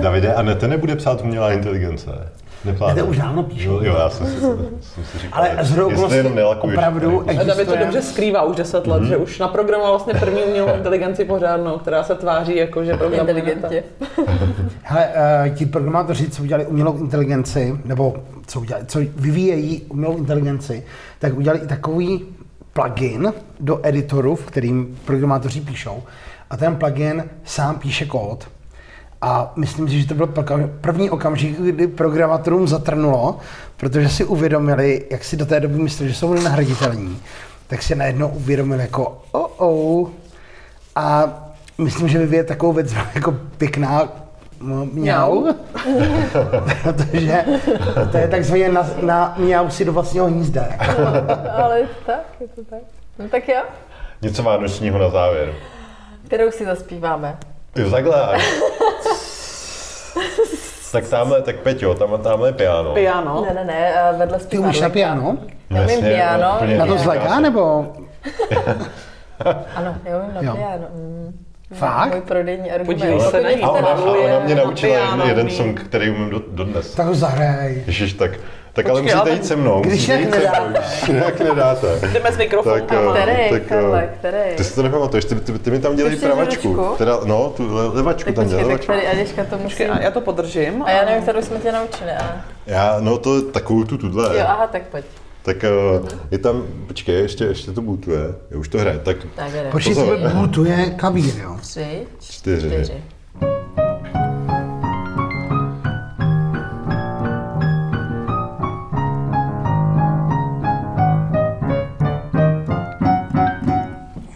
Speaker 1: Davide, a ne, ten nebude psát umělá inteligence. Neplánuje.
Speaker 4: Ne, to už dávno píšu.
Speaker 1: Jo, jo, já jsem si, jsem si říkal.
Speaker 4: Ale z
Speaker 1: jestli jenom nelakuješ
Speaker 4: opravdu
Speaker 1: tady.
Speaker 3: A David to
Speaker 4: existuje.
Speaker 3: dobře skrývá už 10 let, že už naprogramoval vlastně první umělou inteligenci pořádnou, která se tváří jako, že programuje.
Speaker 2: Inteligentně.
Speaker 4: Hele, eh, ti programátoři, co udělali umělou inteligenci, nebo co, udělali, co vyvíjejí umělou inteligenci, tak udělali i takový plugin do editoru, v kterým programátoři píšou. A ten plugin sám píše kód. A myslím si, že to byl proka- první okamžik, kdy programátorům zatrnulo, protože si uvědomili, jak si do té doby mysleli, že jsou nenahraditelní, tak si najednou uvědomili jako, oh, oh. A myslím, že vyvíjet takovou věc byla jako pěkná m- mňau, protože to je takzvaně na, na mňau si do vlastního hnízda. jako.
Speaker 2: No, Ale tak, je to tak. No tak jo,
Speaker 1: Něco vánočního na závěr.
Speaker 2: kterou si zaspíváme.
Speaker 1: Jo, takhle. a- tak tamhle, tak Peťo, tam, tamhle je piano.
Speaker 3: Piano.
Speaker 2: Ne, ne, ne, eh, vedle
Speaker 4: Ty umíš na
Speaker 2: zpíváme.
Speaker 4: piano?
Speaker 2: Já vím
Speaker 1: Jasně,
Speaker 2: piano.
Speaker 1: úplně
Speaker 4: Na to
Speaker 1: jinak.
Speaker 4: z Lega nebo
Speaker 2: Ano, neumím na
Speaker 4: Jo.
Speaker 2: piano. Mm.
Speaker 4: Fakt?
Speaker 2: Můj prodejní argument. No,
Speaker 3: Podívej
Speaker 2: Pokud
Speaker 3: se na ní.
Speaker 1: A
Speaker 2: některá-
Speaker 1: ona, a ona mě
Speaker 3: Na
Speaker 1: naučila jeden,
Speaker 3: piano
Speaker 1: jeden
Speaker 3: umí.
Speaker 1: song, který umím do, dodnes.
Speaker 4: Tak ho zahraj.
Speaker 1: Ježiš, tak, tak ale
Speaker 3: Počkej,
Speaker 1: musíte
Speaker 3: ale
Speaker 1: jít se mnou.
Speaker 4: když
Speaker 1: musíte
Speaker 4: jak
Speaker 1: jít se mnou, když Jak nedáte.
Speaker 3: Jdeme s mikrofonem.
Speaker 1: eh,
Speaker 2: Který,
Speaker 1: tak, eh,
Speaker 2: Karle, který?
Speaker 1: Ty si to nepamatuješ, ty, ty, ty mi tam dělají
Speaker 2: Ty chceš
Speaker 1: pravačku.
Speaker 2: levačku?
Speaker 1: Teda, no, tu le, levačku
Speaker 2: Tak
Speaker 1: tam
Speaker 2: počkej,
Speaker 1: dělají.
Speaker 2: tak
Speaker 1: levačku.
Speaker 2: tady Aděška to musí...
Speaker 3: Počkej, a já to podržím.
Speaker 2: A já nevím, kterou jsme tě naučili, ale...
Speaker 1: Já, no to je takovou tu tuhle.
Speaker 2: Jo, aha, tak pojď.
Speaker 1: Tak eh, je tam, počkej, ještě, ještě to bootuje. Jo, už to hraje. Tak
Speaker 2: Tak jdeme.
Speaker 4: Počkej,
Speaker 1: Pozor.
Speaker 4: tebe bootuje klavír, jo.
Speaker 2: Tři,
Speaker 1: čtyři,
Speaker 2: čtyři,